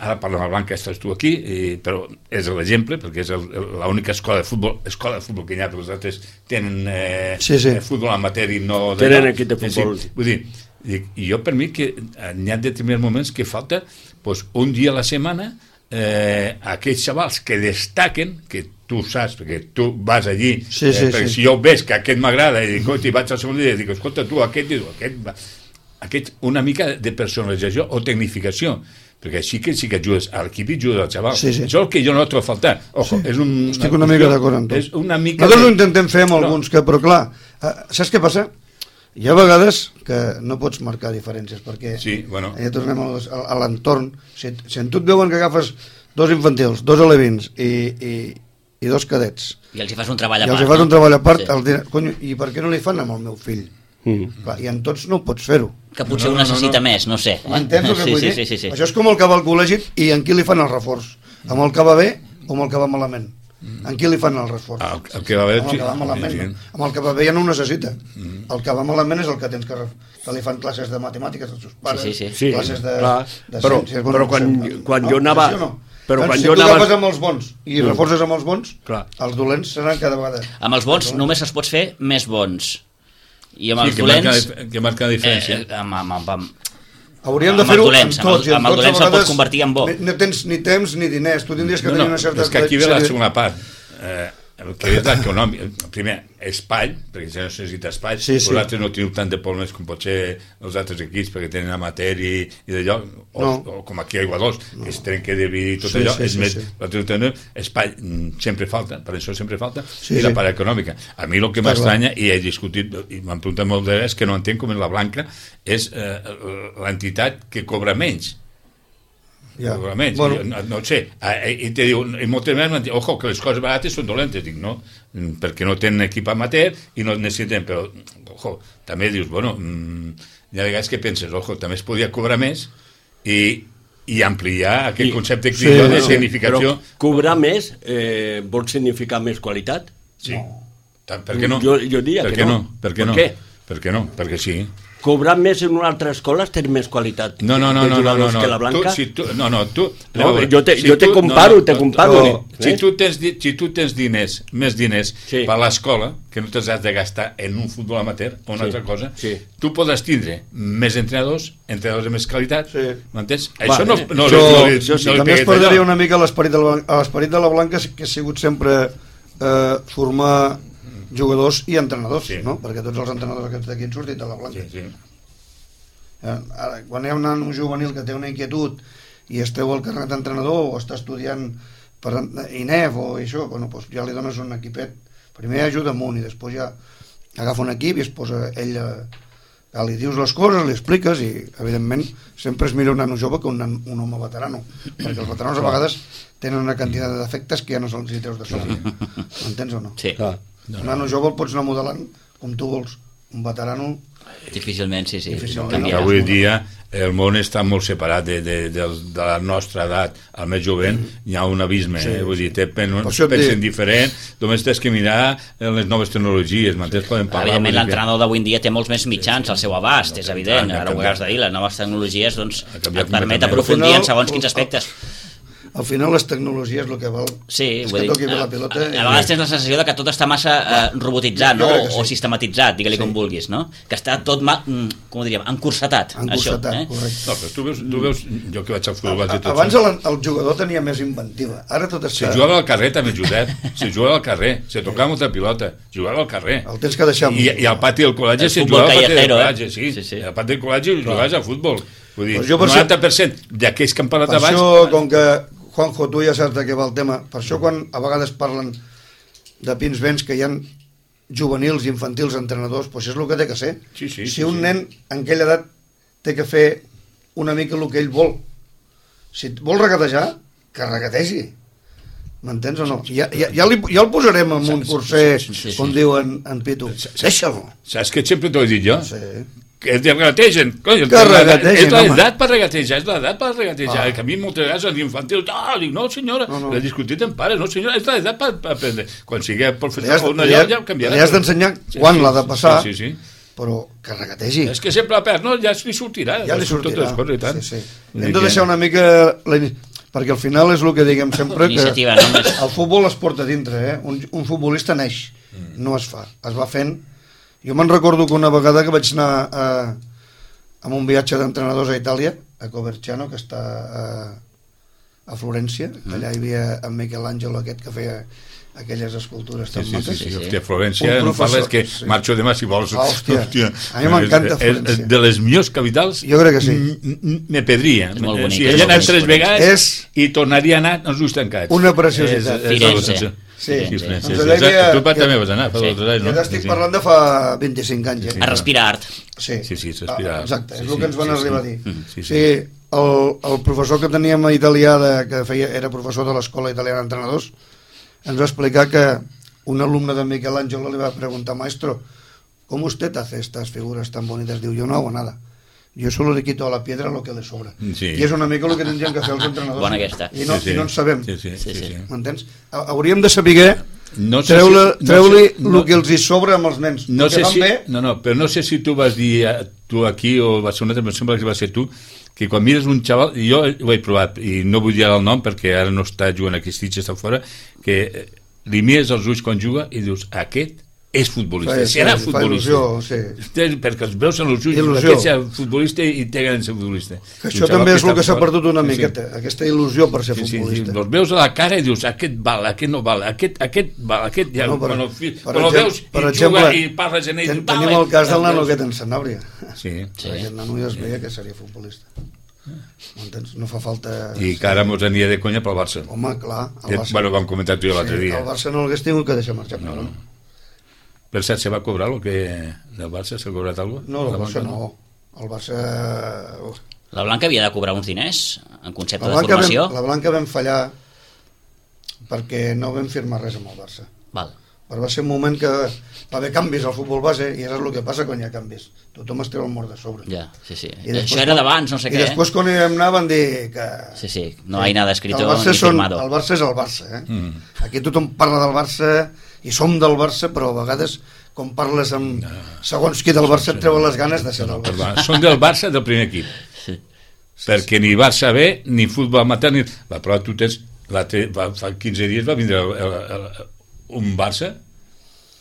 B: ara parla amb la Blanca, estàs tu aquí, i, però és l'exemple, perquè és el- el- l'única escola de futbol, escola de futbol que hi ha, perquè els altres tenen eh,
D: Sí, sí.
B: eh, futbol amateur i no...
C: Tenen equip de futbol.
B: vull dir, dic, i jo per mi que eh, n'hi ha determinats moments que falta doncs, un dia a la setmana eh, aquells xavals que destaquen, que tu saps, perquè tu vas allí,
D: Sí, sí,
B: eh, perquè
D: sí.
B: si jo veig que aquest m'agrada i dic, "Hosti, vaig al segon dia i dic, escolta, tu, aquest, diu, aquest, va- aquest, una mica de personalització o tecnificació, perquè així que sí que ajudes a l'equip i ajudes al xaval.
D: Sí, sí.
B: Això és el que jo no trobo a faltar. Ojo, és un...
D: Estic una mica d'acord amb tu.
B: És una mica...
D: Nosaltres ho
B: de-
D: intentem fer amb
B: No.
D: alguns, que, però clar, eh, saps què passa? Hi ha vegades que no pots marcar diferències, perquè
B: Sí, bueno.
D: ja tornem a les- a a l'entorn. Si, et- si en tu et veuen que agafes dos infantils, dos alevins i, i, i dos cadets,
A: I els hi fas un treball a
D: i
A: part.
D: els hi fas un treball a part,
A: Sí.
D: sí. dirà, conyo, i per què no li fan amb el meu fill? Mm. Clar, I en tots no pots fer-ho.
A: Que potser
B: No,
A: ho
B: no, no,
A: necessita
B: no.
A: més, no sé.
D: M'entens el que
A: sí,
D: vull
A: sí,
D: dir?
A: sí, sí, sí.
D: Això és com el que va al col·legi i en qui li fan el reforç. Amb el que va bé o amb el que va malament.
A: Mm.
D: En qui li fan el reforç?
B: Ah, el- el que va haver...
D: amb el que va malament.
B: Sí, sí.
D: no? Amb el que va bé ja no ho necessita.
A: Mm.
D: El que va malament és el que tens que, re- que li fan classes de matemàtiques als seus pares,
A: Sí, sí, sí.
C: Sí,
D: classes de,
C: clar.
D: de
C: Però-
D: ciències.
C: però quan-
D: no sé,
C: quan jo anava-
D: Sí o
C: però
D: Doncs
C: quan
D: si
C: jo
D: tu
C: anava- Mm.
D: agafes amb els bons i reforces amb els bons,
C: Clar.
D: els dolents seran cada vegada.
A: Amb els bons només els pots fer més bons. i amb els
B: que
A: dolents...
B: marca, que marca la diferència.
A: eh, amb, amb, amb, amb,
D: Hauríem
A: Amb
D: de
A: els
D: fer-ho amb
A: dolents, amb
D: tots.
A: els-
D: i
A: amb els
D: tots a
A: dolents no pots
D: vegades
A: convertir en bo.
D: ni- No tens ni temps ni diners. Tu tindries que
B: no,
D: tenir
B: no,
D: una certa...
B: és que aquí ve la
D: sèrie-
B: segona part. Eh, el que és l'econòmic. Primer, espai, perquè si no es necessita espai.
D: Sí, sí.
B: Vosaltres no teniu tant de problemes com potser els altres equips, perquè tenen amateri i d'allò, o,
D: No.
B: o, com aquí a Iguadós, no. es trenca de vi i tot
D: Sí,
B: allò.
D: sí,
B: és
D: sí,
B: més,
D: sí.
B: vosaltres teniu espai, mm, sempre falta, per això sempre falta,
D: Sí,
B: i la
D: sí.
B: part econòmica. A mi el que
D: Està clar.
B: m'estranya, i he discutit, i m'han preguntat molt de és que no entenc com és la Blanca, és eh, l'entitat que cobra menys
D: Ja.
B: segurament, bueno.
D: Bueno,
B: no, no ho sé Ah, eh, i, te diu, i moltes vegades m'han dit, ojo, que les coses barates són dolentes dic, no, mm, perquè no tenen equip amateur i no necessiten, però ojo, també dius, bueno mm, hi ha vegades que penses, ojo, també es podia cobrar més i, i ampliar aquest
C: I-
B: concepte que
D: sí,
B: sí, de
D: sí,
B: significació
C: Però cobrar més eh, vol significar més qualitat?
B: sí. Tant, per què no?
C: Jo- jo diria
B: per
C: que
B: què
C: no.
B: no. Per què
C: Per
B: no?
C: què?
B: Per què no? Perquè sí.
C: Cobrar més en una altra escola té més qualitat
B: No, no, no,
C: de
B: no, no, no,
C: jugadors
B: no.
C: que la Blanca?
B: Tu, si tu, no, no, tu...
C: No,
B: veure,
C: jo te- jo te comparo, te comparo,
B: Toni,
C: eh?
B: Si, tu tens, di- si tu tens diners, més diners,
C: Sí.
B: per a l'escola, que no te'ls has de gastar en un futbol amateur o una
C: Sí.
B: altra cosa,
C: Sí.
B: tu podràs tindre més entrenadors, entrenadors de més qualitat,
D: Sí.
B: m'entens?
C: Va,
B: Això no...
C: eh,
B: no, no,
D: jo,
B: no,
D: jo sí,
B: no li
D: també es
B: pegues allò.
D: perdria una mica l'esperit de, la Blan- l'esperit de la Blanca que ha sigut sempre eh, formar jugadors i entrenadors,
B: Sí.
D: no? Perquè tots els entrenadors aquests d'aquí han sortit de la Blanca.
B: Sí, sí.
D: Eh, ara, quan hi ha un nano juvenil que té una inquietud i esteu al carnet d'entrenador o està estudiant per eh, INEF E o això, bueno, doncs ja li dones un equipet primer ajuda amunt i després ja agafa un equip i es posa ell a, a li dius les coses, li expliques i evidentment sempre és millor un nano jove que un, nan, un home veterano perquè els veteranos a vegades tenen una quantitat de defectes que ja no se'ls hi treus de sobre m'entens o no?
A: sí,
C: Clar.
D: un nano jove el pots anar modelant com tu vols un veterano
A: difícilment, sí, sí.
D: Difícilment.
B: que
A: canviarà.
B: avui dia el món està molt separat de, de, de, de la nostra edat al més jovent hi ha un abisme sí. eh? vull dir, te, pen,
D: això et
B: pensen
D: dic.
B: diferent només tens que mirar en les noves tecnologies m'entens? poden parlar vull
A: Evidentment,
B: dir que
A: l'entrenador d'avui en dia té molts més mitjans al seu abast, és evident.
B: ha
A: Ara ho
B: canviat.
A: acabes de dir, les noves tecnologies doncs,
B: Ha
A: et
B: canviat
A: permet
B: completament.
A: aprofundir
D: Al
A: en
D: final,
A: segons quins
D: al-
A: aspectes.
D: al final les tecnologies el que val
A: Sí,
D: és
A: vull
D: que
A: dir,
D: toqui bé
A: a,
D: la pilota
A: a, a vegades tens la sensació de que tot està massa eh, robotitzat
D: Jo
A: no?
D: crec que sí.
A: o sistematitzat, digue-li
D: Sí.
A: com vulguis, no? Que està tot, ma, mm, com ho diríem, encursetat.
D: encursetat,
A: això, eh?
D: correcte
B: no, però tu veus, tu veus jo que vaig al futbol vaig a tot
D: Abans el, el jugador tenia més inventiva, ara tot
B: si
D: està...
B: jugava al carrer també Josep si jugava al carrer, si tocava molta pilota jugava al carrer
D: El tens que deixar...
B: i, i al pati del col·legi
A: El
B: si
A: futbol
B: jugava al pati del
A: callejero, eh?
B: col·legi sí,
A: Sí, sí.
B: al pati del col·legi jugaves a futbol vull dir,
D: Però jo per això-
B: 90% d'aquells que han parlat
D: Per
B: abans
D: això, com que, Juanjo, tu ja saps de què va el tema, per això quan a vegades parlen de pins vents que hi han juvenils i infantils entrenadors, doncs és el que té que ser.
B: Sí, sí, sí,
D: si un
B: sí.
D: nen en aquella edat té que fer una mica el que ell vol. Si et vol regatejar, que regategi. M'entens o no? Ja, ja, ja, li, ja el posarem en un curser, com diu en, en Pitu. Deixa-lo.
B: saps que sempre t'ho he dit jo?
D: Sí.
B: que te regategen. Coi, el-
D: Que regategen,
B: és l'edat
D: home.
B: per regatejar, és l'edat per regatejar.
D: Ah.
B: Ah. Que a mi moltes vegades els infantils, ah, dic, no senyora,
D: No,
B: no,
D: no.
B: no. l'he discutit amb pares, no senyora, és l'edat per, per aprendre. Quan siguem
D: Li has,
B: professor o una
D: li
B: allò,
D: has,
B: ja canviarà.
D: li has d'ensenyar quan l'ha de passar,
B: Sí, sí, sí.
D: però que regategi.
B: És que sempre la perd, no? Ja li sortirà.
D: ja li
B: Totes
D: sortirà.
B: les coses, i tant.
D: Sí, sí.
B: Vull
D: Hem
B: dir
D: de
B: que-
D: deixar una mica... La, ini- perquè al final és el que diguem sempre que
A: Iniciativa, no? Més-
D: el futbol es porta dintre, eh? Un, un futbolista neix,
B: Mm.
D: no es fa, es va fent. Jo me'n recordo que una vegada que vaig anar a, amb un viatge d'entrenadors a Itàlia, a Coverciano, que està a, a Florència,
B: Mm.
D: allà hi havia en Miquel Àngel aquest que feia aquelles escultures
B: Sí,
D: tan
B: sí, sí,
D: maques.
B: sí,
A: sí.
B: hòstia, Florència,
D: Un
B: no
D: professor,
B: parles que
D: sí.
B: marxo demà si vols.
D: Ah, hòstia. A mi m'encanta
B: És- és-
D: Florència.
B: De les millors capitals...
D: Jo crec que sí.
B: m- m- Me pedria. Eh,
A: És molt bonic,
B: Si
A: és
B: he anat
A: molt
B: tres
A: bonic.
B: vegades
D: És-
B: i tornaria a anar, no just tancats.
D: Una preciositat.
A: Firenze.
B: Sí,
D: Sí.
B: sí, sí,
D: Doncs
B: sí,
D: allà hi
B: sí.
D: havia-
B: Tu Pat,
D: hi ha-
B: també vas anar fa
A: Sí.
B: dos o tres anys,
D: Jo
B: no?
D: t'estic
B: Sí, sí.
D: parlant de fa 25 anys. eh?
B: Sí, sí.
A: A respirar art.
D: Sí,
B: Sí, sí, s'aspira.
D: Ah, Exacte, és
B: Sí,
D: el que ens
B: sí,
D: van
B: sí,
D: arribar
B: sí.
D: a dir.
B: Mm, sí,
D: Sí,
B: sí.
D: sí. el, el professor que teníem a italià, de, que feia, era professor de l'Escola Italiana d'Entrenadors, ens va explicar que un alumne de Miquel Àngelo li va preguntar, maestro, ¿cómo usted hace estas figuras tan bonitas? Diu, yo no hago nada. Yo solo le quito a la piedra lo que le sobra.
B: Sí.
D: I és una mica el que tindrien que fer els entrenadors.
A: Bona aquesta.
D: I no,
B: Sí, sí.
D: i no en sabem.
B: Sí, sí, sí, sí.
D: M'entens? Ha- Hauríem de saber
B: No sé
D: treure-
B: si- no
D: treu-li
B: sé- no-
D: el que els hi sobra amb els nens.
B: No
D: el que
B: sé
D: fan
B: si,
D: bé,
B: no, no, però no sé si tu vas dir eh, tu aquí o va ser una altra, em sembla que va ser tu, que quan mires un xaval, jo ho he provat, i no vull dir ara el nom perquè ara no està jugant aquí, Stitch està fora, que eh, li mires els ulls quan juga i dius, aquest és futbolista,
D: Fa-
B: serà
D: fa- fa
B: futbolista.
D: il·lusió, sí.
B: Té, perquè els veus en els ulls,
D: Il·lusió.
B: aquest serà futbolista i té ganes de ser futbolista.
D: Que
B: I
D: això
B: un xaval
D: també és el
B: està
D: que s'ha
B: fort.
D: perdut una
B: Sí, sí.
D: miqueta, aquesta il·lusió per ser
B: Sí, sí, sí,
D: futbolista.
B: els veus a la cara i dius aquest val, aquest no val, aquest, aquest val, aquest ja,
D: No,
B: no,
D: per-
B: quan el, fi,
D: per
B: quan el
D: exemple-
B: veus
D: per
B: i
D: exemple,
B: juga i parles en ell
D: Ten,
B: vale,
D: tenim el cas del
B: el
D: nano
B: veus.
D: aquest en Sanàbria. Sí.
B: sí.
D: Aquest nano ja es veia que seria futbolista. M'entens? No fa falta...
B: i que ara mos aniria de conya pel Barça
D: Home, clar, el
B: Ja,
D: Barça,
B: bueno, vam comentar tu i l'altre
D: sí,
B: dia
D: el Barça no l'hagués tingut que deixar marxar. No, no,
B: per cert, se va cobrar el que del Barça, s'ha cobrat alguna
D: no el Barça no. El Barça...
A: La Blanca havia de cobrar uns diners en concepte
D: La
A: de
D: Blanca,
A: formació.
D: vam, la Blanca vam fallar perquè no vam firmar res amb el Barça.
A: Val.
D: Però va ser un moment que va haver canvis al futbol base i ara és el que passa quan hi ha canvis. Tothom es treu el mort de sobre.
A: Ja, sí, sí.
D: I després-
A: Això era d'abans, no sé
D: I
A: què. eh?
D: després quan hi vam anar van dir que...
A: Sí, sí, no hay nada escrito
D: el Barça
A: ni
D: són-
A: firmado.
D: El Barça és el Barça, eh? Mm. Aquí tothom parla del Barça i som del Barça, però a vegades quan parles amb segons qui del Barça et treuen les ganes de ser del Barça.
B: són del Barça del primer equip perquè ni Barça B ni futbol amateur ni... la prova tu tens l'altre- va, fa 15 dies va vindre el, el, el, un Barça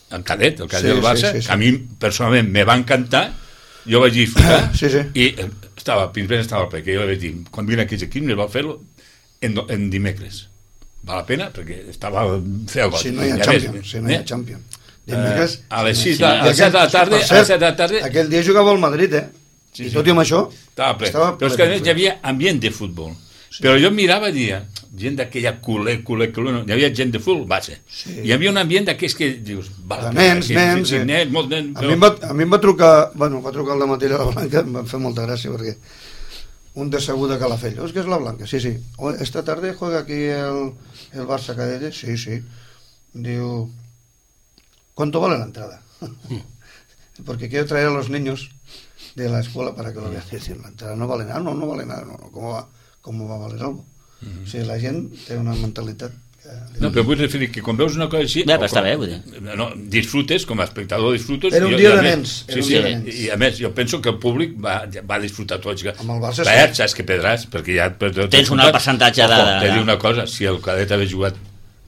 B: en cadet, el cadet
D: Sí,
B: sí, del
D: sí,
B: Barça
D: sí,
B: sí,
D: sí.
B: sí, sí. a mi personalment me va encantar jo vaig disfrutar
D: Sí, sí.
B: i eh, estava, principalment estava perquè jo vaig dir, quan vinc aquí aquí me va fer-lo en, do- en dimecres val la pena perquè estava fer el got
D: Si no
B: I a
D: hi ha
B: més,
D: Champions, si no hi ha Champions. Dimecres,
B: eh, a les
D: si
B: 6
D: no
B: de,
D: hi ha-
B: a les set de la tarda,
D: Per
B: a les set de la tarda
D: Aquell dia jugava al Madrid, eh?
B: Sí,
D: I
B: sí.
D: tot i amb això,
B: estava ple. Estava ple. Però és que a més hi havia ambient de futbol. Sí. Però jo mirava i dia, gent d'aquella culer, culer, culer, no. hi havia gent de futbol, base. Sí. Hi havia un ambient d'aquells que dius... Val,
D: De nens,
B: sí,
D: nens,
B: Sí,
D: eh.
B: sí, nens, molt nens.
D: A mi, em va, a mi em va trucar, bueno, em va trucar el de matí a la Blanca, em va fer molta gràcia perquè un de segur de Calafell, oh, és que és la Blanca, sí, sí. "Oh, Esta tarde juega aquí el, el Barça Cadete, sí, sí. Diu, ¿cuánto vale la entrada? Porque quiero traer a los niños de la escuela para que lo vean. Dicen, la entrada no vale nada, no, no vale nada, no, no, ¿cómo va, cómo va a valer algo? O sigui, la gent té una mentalitat que li
B: No, però vull referir que quan veus una cosa així...
A: Bé, però
B: o
A: està
B: com-
A: bé, vull dir.
B: No, disfrutes, com a espectador disfrutes...
D: Era un
B: i-
D: dia
B: i a
D: de
B: més-
D: nens, era
B: Sí,
D: un
B: sí,
D: dia de
B: i-
D: nens.
B: i a més, jo penso que el públic va, va disfrutar tot. que-
D: Amb el Barça,
B: Perd,
D: sí.
B: saps que perdràs, perquè ja... Per, per,
A: Tens un alt percentatge de-
B: Ojo, T'he
A: de-
B: de dir una cosa, si el cadet hagués jugat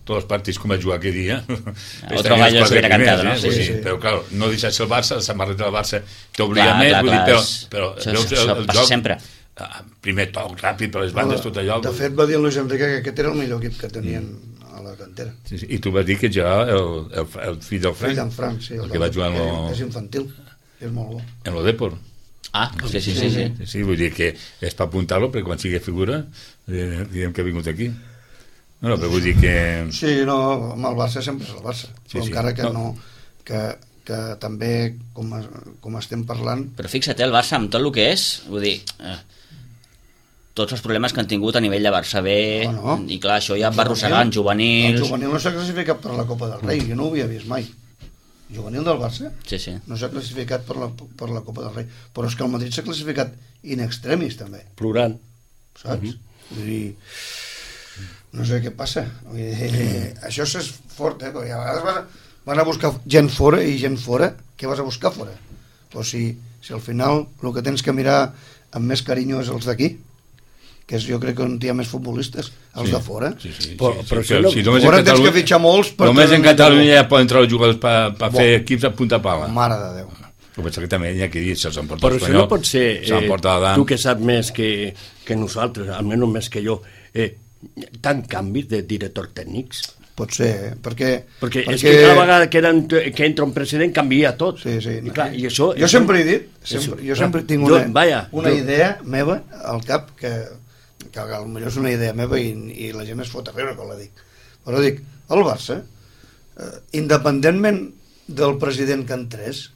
B: tots els partits com a jugar aquell dia...
A: Otro
B: estaria
A: gallo
B: als quatre
A: s'hubiera
B: primers,
A: cantado, no?
B: eh? Vull
A: Sí,
B: dir,
D: sí.
B: Però, clar, no deixar-se el Barça, la samarreta del Barça t'obliga
A: Clar,
B: més,
A: clar,
B: vull dir,
A: clar,
B: però...
A: és-
B: però
A: això-
B: veus
A: això
B: el, el
A: passa
B: joc,
A: sempre.
B: Ah, Primer toc, ràpid, per les bandes, tot allò... Mm.
D: De fet, va dir el Luis Enrique que aquest era el millor equip que tenien a la cantera.
B: Sí, sí, I tu vas dir que ja el, el, el fill del Frank,
D: Fill d'en Frank, sí.
B: el Mm. que va jugar en lo-
D: És infantil, és molt bo.
B: en lo Depor.
A: Ah, sí, sí, sí. sí.
B: Sí, vull dir que és per apuntar-lo, perquè quan sigui figura eh, direm que ha vingut aquí. No, no, però vull dir que...
D: Sí, no, amb el Barça sempre és el Barça. Sí,
B: sí.
D: Encara que
B: No.
D: no... Que, que també, com, es- com estem parlant,
A: Però fixa't, eh, el Barça, amb tot el que és, vull dir, eh, tots els problemes que han tingut a nivell de Barça B,
D: Bueno.
A: i clar, això ja va arrossegant
D: el
A: juvenils...
D: juvenil no s'ha classificat per la Copa del Rei, jo no ho havia vist mai. Juvenil del Barça
A: Sí, sí.
D: no s'ha classificat per la, per la Copa del Rei, però és que el Madrid s'ha classificat in extremis, també.
C: plorant.
D: saps?
C: Mhm.
D: Vull dir, no sé què passa. Vull dir,
C: Mm.
D: eh, això és fort, eh? Perquè a vegades vas a, van a buscar gent fora i gent fora, què vas a buscar fora? Però si, si al final el que tens que mirar amb més carinyo és els d'aquí, que és, jo crec que on hi ha més futbolistes, els sí. de fora.
B: Sí, sí, sí,
C: Però-
B: sí,
C: però
B: sí,
C: això no-
B: només en
D: Fora tens
B: Catalunya-
D: que fitxar molts per
B: Només en
D: tenir-
B: Catalunya ja poden entrar els jugadors per, per fer equips a punta pala.
D: Mare de Déu.
B: Però pensa que també hi ha qui dir, se'ls emporta
C: Però això
B: l'Espanyol,
C: no pot ser,
B: Doncs se l'emporta
C: eh,
B: l'Adam.
C: tu que saps més que, que nosaltres, almenys més que jo, eh, tant canvis de director tècnics?
D: Pot ser, eh? perquè...
C: Perquè, és que cada vegada que, eren, que entra un president canvia tot.
D: Sí, sí.
C: I, clar, i això,
D: jo sempre he dit, sempre, jo sempre tinc
C: Jo-
D: una,
C: vaja,
D: una
C: jo-
D: idea meva al cap que, que potser és una idea meva i, i la gent es fot a riure quan la dic. Però dic, el Barça, eh, independentment del president que entrés,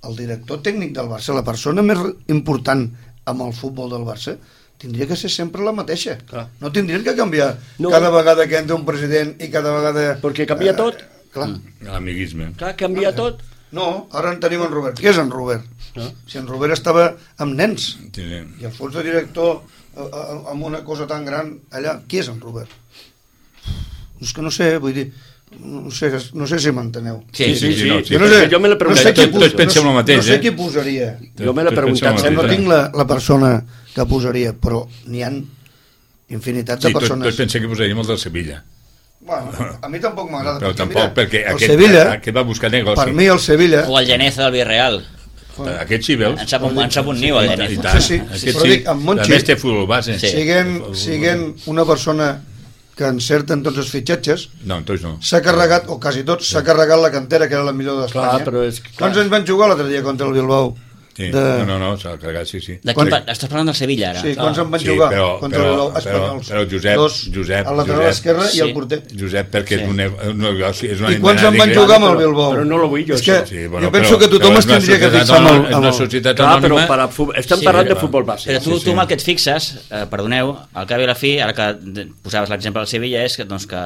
D: el director tècnic del Barça, la persona més important amb el futbol del Barça, tindria que ser sempre la mateixa.
C: Clar.
D: No tindrien que canviar
C: No.
D: cada vegada que entra un president i cada vegada... eh,
C: Perquè canvia tot. Mm.
D: Clar.
B: L'amiguisme.
C: Clar,
D: Ah,
C: canvia tot.
D: No, ara en tenim en Robert. Què és en Robert? Si en Robert estava amb nens
B: Sí, sí.
D: i el fons de director eh, eh, amb una cosa tan gran allà, qui és en Robert? És que no sé, vull dir, no sé, no sé si m'enteneu.
A: Sí, sí,
B: sí, no, sí.
D: Jo no sé,
C: Jo me l'he
D: no sé
C: preguntat.
D: qui
B: Tots- tots
D: posa-
B: pensem el
D: no sé-
B: mateix,
D: no sé
B: eh?
D: qui posaria.
C: Jo me l'he preguntat
B: Tots pensem
D: No
C: sempre.
B: el
D: tinc la, la persona que posaria, però n'hi han infinitat de
B: Sí, tot,
D: persones.
B: tot pensa que posaríem el del Sevilla.
D: Bueno, a mi tampoc m'agrada.
B: Però
D: perquè,
B: tampoc,
D: mira,
B: perquè
D: el
B: aquest,
D: Ah,
B: eh,
D: Sevilla,
B: aquest va buscar negoci. Eh,
D: per mi el Sevilla...
A: O el Geneza del Virreal.
B: Aquest sí, veus?
A: En sap un, en sap un niu, el
B: I
A: Geneza.
B: tant.
D: Sí, sí,
B: Aquest
D: però dic, amb Monchi-
B: A més té futbol base.
A: Sí.
D: Siguent, siguent una persona que encerta en tots els fitxatges,
B: No, tots no.
D: s'ha carregat, o quasi tot, s'ha carregat la cantera, que era la millor d'Espanya.
C: Clar, però és que-
D: Quants anys van jugar l'altre dia contra el Bilbao?
B: Sí.
D: De...
B: No, no, no, s'ha carregat, sí, sí.
A: De
D: Quan-
A: quin, pa- estàs parlant del Sevilla, ara? Ah.
D: Sí, quants en van
B: Sí,
D: jugar
B: però-
D: contra
B: però-
D: el Bilbao
B: però-
D: espanyols?
B: però Josep-
D: Dos,
B: Josep-
D: el lateral
B: Josep-
D: esquerre i el
A: Sí.
D: porter.
B: Josep, perquè sí. és, un, és un negoci... És una
D: I quants en van
B: indemnitària.
D: jugar amb el
C: però-
D: Bilbao?
C: però no lo vull jo,
D: És que
C: això.
B: Sí,
D: jo penso que tothom
B: però
D: es
B: és una
D: tendria que
B: societat
D: fixar amb el...
B: anònima,
D: Amb
B: És una
D: el...
B: societat
C: Clar, però
B: anònima...
C: per a fu- estem
B: Sí,
C: parlant de
B: clar.
C: futbol base.
A: Però tu,
B: Sí,
A: sí,
B: sí.
A: tu amb el que et fixes, eh, perdoneu, al cap i a la fi, ara que de- posaves l'exemple del Sevilla, és que, doncs, que,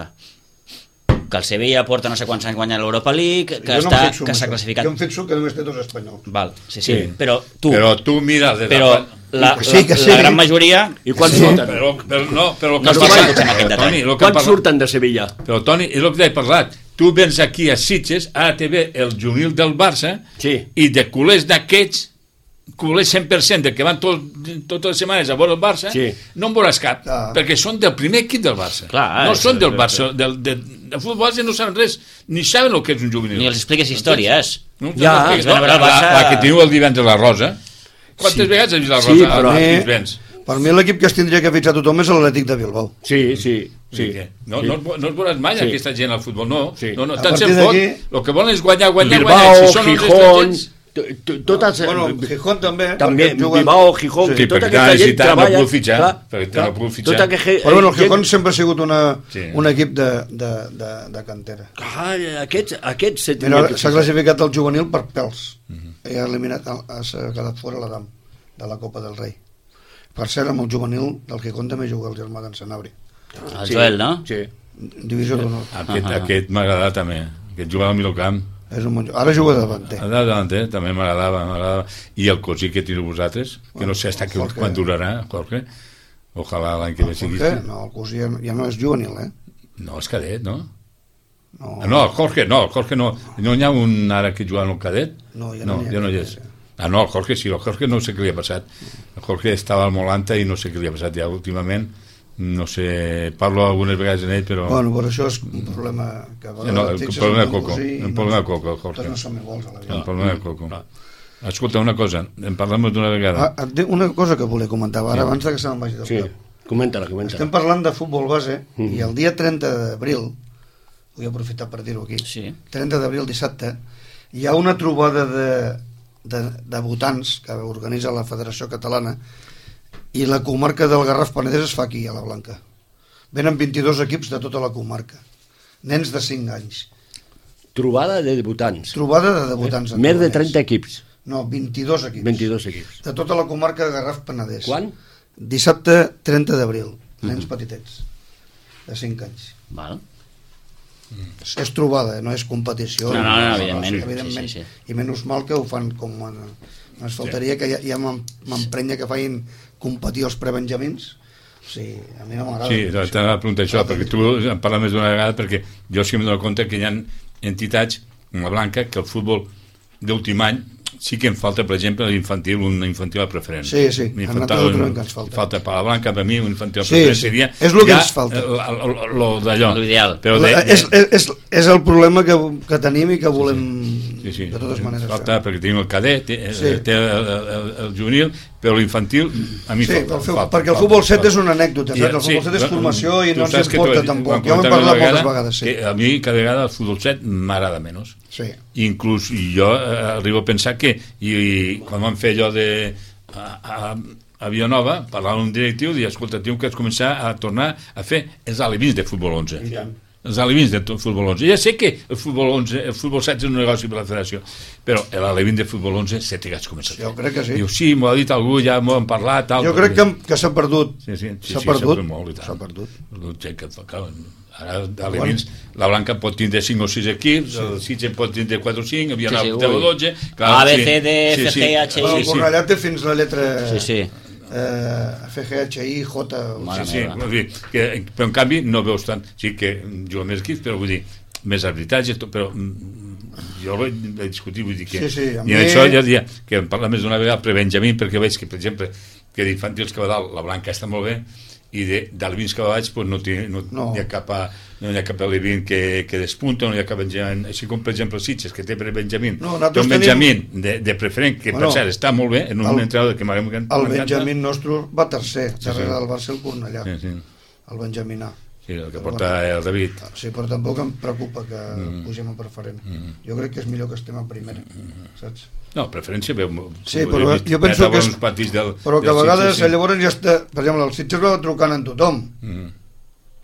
A: que el Sevilla porta no sé quants anys guanyant l'Europa League, que,
D: Jo no em
A: està,
D: fixo
A: que
D: en
A: s'ha
D: això.
A: classificat...
D: Jo em fixo que només té dos espanyols.
A: Val, sí, sí,
B: Sí.
A: sí, però tu,
B: Però
A: però,
B: tu mira... des de
A: però
B: fa-
A: la,
D: Sí, que
A: la,
D: sí.
A: la gran majoria...
C: I quan,
B: Sí,
C: surten?
B: però, però, no, però el que
A: No estic
B: parlat-
A: segur en aquest
B: Toni,
A: detall.
B: el que
C: quan
B: parlat-
C: surten de Sevilla?
B: Però, Toni, és el que t'he parlat. Tu vens aquí a Sitges, ara te ve el juvenil del Barça,
C: Sí.
B: i de culers d'aquests, culers 100% de que van tot, totes les setmanes a veure el Barça,
C: Sí.
B: no en veuràs cap,
D: Ah.
B: perquè són del primer equip del Barça.
A: Clar,
B: no
A: és-
B: són del Barça, del, de, de futbol base no saben res, ni saben el que és un juvenil.
A: Ni els expliques històries.
B: No,
C: Ja,
B: no,
A: es van a veure
B: la,
A: el Barça-
B: la, que teniu el divendres la Rosa, quantes
C: Sí.
B: vegades has vist la
C: Sí,
B: Rosa?
C: però-
B: als
D: Eh.
B: Pinsbens?
D: Per mi l'equip que es tindria que fixar tothom és l'Atlètic de Bilbao.
C: Sí, sí, sí.
B: Sí. No, no, es- no es veuràs mai
C: Sí.
B: sí. aquesta gent al futbol, no.
C: Sí.
B: Sí. No, no,
D: A
B: tant
D: partir
B: se'n fot,
D: d'aquí-
B: el que volen és guanyar, guanyar, guanyar.
C: Bilbao,
B: Si són uns
C: Gijón,
B: estrangers-
C: to- to- totes...
D: Bueno, Gijón també,
C: També,
D: perquè juguen-
C: Bilbao, Gijón...
D: Sí,
C: que tota
B: perquè
C: aquesta
B: clar, si
C: gent
B: tant no
C: treballa,
B: puc fitxar,
C: clar,
B: perquè tant
C: clar,
B: no puc fitxar.
C: Tota aquesta
D: Però bueno, el
C: gent-
D: Gijón sempre ha sigut una,
B: Sí.
D: un equip de, de, de, de cantera.
C: Clar, aquests, aquests se
D: Mira,
C: tindrien que
D: s'ha
C: fitxar.
D: classificat el juvenil per pèls.
B: Mhm.
D: I ha eliminat, el- s'ha quedat fora la DAM, de la Copa del Rei. Per cert, amb el juvenil del que compta més jugar el germà d'en Sanabri.
A: El Joel, no?
C: Sí.
D: Divisió d'honor.
B: Aquest, aquest m'agradava també, aquest jugava al Milocamp.
D: És un bon jugador. Ara juga de davanter.
B: Allà davant, eh? també m'agradava, m'agradava. I el cosí que teniu vosaltres, que no sé hasta que,
D: Jorge.
B: quan durarà, Jorge. Ojalà l'any que ve sigui.
D: Perquè, no, el cosí ja, ja no és juvenil, eh?
B: No, és cadet, no?
D: No,
B: Ah, No, el Jorge, no, el Jorge no. No n'hi ha un ara que jugava en el cadet?
D: No, ja
B: no,
D: no n'hi ha
B: ja no hi
D: cap,
B: és.
D: ja.
B: Ah, no, el Jorge sí, el Jorge no sé què li ha passat. El Jorge estava al Molanta i no sé què li ha passat ja últimament. No sé, parlo algunes vegades amb ell, però...
D: Bueno, però això és un problema que... a
B: Sí, no,
D: vegades
B: el
D: fixes
B: problema
D: en
B: de
D: un
B: Coco,
D: cosí i
B: el
D: no-
B: problema de Coco, Jorge.
D: Tots no som iguals a la vida.
B: El problema del coco. Escolta, una cosa, en parlem d'una vegada.
D: Ah, et dic una cosa que volia comentar ara, abans de que se me'n vagi del
C: Sí,
D: cap.
C: comenta-la, comenta-la.
D: Estem parlant de futbol base
C: Mhm.
D: i el dia 30 d'abril, vull aprofitar per dir-ho aquí,
A: Sí.
D: 30 d'abril dissabte, hi ha una trobada de, de, de votants que organitza la Federació Catalana i la comarca del Garraf Penedès es fa aquí, a la Blanca. Venen 22 equips de tota la comarca, nens de 5 anys.
C: Trobada de debutants.
D: Trobada de debutants. en
C: Més de
D: Tornès.
C: 30 equips.
D: No, 22 equips.
C: 22 equips.
D: De tota la comarca de Garraf Penedès.
C: Quan? Mhm.
D: Dissabte 30 d'abril. Nens petitets, de 5 anys.
A: Val.
D: És trobada, eh, no és competició.
A: No, no, no, evidentment.
D: sí, evidentment.
A: Sí, sí,
D: I menys mal que ho fan com... A... Ens faltaria que ja, ja m'em- m'emprenya que facin competir els prebenjamins. Sí, a mi no m'agrada. Ah,
B: Sí, t'anava a preguntar això, perquè tu en parles més d'una vegada, perquè jo sí que em dono compte que hi ha entitats, com la Blanca, que el futbol d'últim any sí que em falta, per exemple, l'infantil, un infantil a preferent.
D: Sí, sí,
B: Un
D: a
B: infantil,
D: nosaltres ho trobem
B: un-
D: que ens falta.
B: Falta per la Blanca, per mi, un infantil a
D: Sí,
B: preferent
D: sí,
B: seria...
D: és lo que
B: ja eh,
D: ens falta.
B: el- el- el- Lo d'allò.
A: Lo ideal.
B: Però de,
D: La,
B: de,
D: és, és, és, és el problema que, que tenim i que volem
B: Sí, sí.
D: de totes maneres
B: falta, perquè tenim el cadet, té,
D: Sí.
B: sí. té el, el, el juvenil, però l'infantil a mi
D: Sí,
B: falta,
D: pel feu,
B: falta,
D: perquè el
B: falta,
D: futbol 7
B: falta.
D: és una anècdota,
B: I,
D: saps? El
B: sí,
D: futbol 7 és
B: no,
D: formació i
B: tu
D: no ens
B: saps que tu
D: importa
B: has- quan
D: tampoc. Jo m'he
B: comentàvem
D: parlat
B: una
D: moltes
B: vegada
D: vegades, sí.
B: que A mi cada vegada el futbol 7 m'agrada menys.
D: sí.
B: Inclús jo eh, arribo a pensar que i, i quan vam fer allò de a, a, a Vilanova, parlar amb un directiu i dir, escolta, tio, que has començar a tornar a fer els alevins de futbol 11 els alevins de tot futbol 11 ja sé que el futbol 11, el futbol 16 és un negoci per la federació, però l'alevin de futbol 11 se té que has començat
D: Jo crec que sí.
B: diu, sí, m'ho ha dit algú, ja m'ho han parlat tal,
D: Jo
B: però
D: crec que, que s'ha perdut.
B: Sí, sí, sí,
D: s'ha
B: sí,
D: perdut.
B: sempre molt, i tant.
D: S'ha perdut.
B: L'objecte que fa, clar, ara d'alevins, bueno. la Blanca pot tindre 5 o 6 equips, sí. el Sitges pot tindre 4 o 5, havia
A: Sí,
B: sí,
A: sí,
B: sí, 10 o
A: ui.
B: 12...
A: A, B, C, D, F, G, H, I.
D: Bueno, el
B: Sí, sí,
D: Cornellà té fins la lletra
A: Sí, sí.
D: eh, FGHI, J... o
A: Mare
B: sí,
D: sigui,
B: sí,
A: meva.
B: vull dir, que, però en canvi no veus tant, sí que juga més equips, però vull dir, més arbitratge, tot, però mm, jo ho he he discutit, vull dir que...
D: Sí, sí, a
B: I
D: mi-
B: en això ja dia, que en parla més d'una vegada, pre Benjamí, perquè veig que, per exemple, que d'infantils que va dalt, la Blanca està molt bé, i de, d'alvins que vaig pues, no, té, no, no.
D: No.
B: hi ha cap, a, no hi ha cap alevin que, que despunta, no hi ha cap Benjamin, així com per exemple Sitges, que té per Benjamin,
D: No,
B: té
D: nosaltres
B: un Benjamin de, de preferent, que bueno,
D: Bueno,
B: per cert està molt bé, en un
D: el-
B: el, entrada que m'encanta.
D: El Benjamín nostre va tercer, darrere
B: sí.
D: del Barça i el Cornellà.
B: Sí, sí.
D: El Benjamín A.
B: Sí, el que porta el David.
D: Sí, però tampoc em preocupa que pugem a preferent. Jo crec que és millor que estem a primera, saps?
B: No, preferència veu...
D: Sí, però jo penso que és-
B: Uns partits del,
D: Però que a
B: del
D: vegades
B: Sitges, sí.
D: llavors ja està... Per exemple, el Sitges va trucant en tothom.
B: Mm.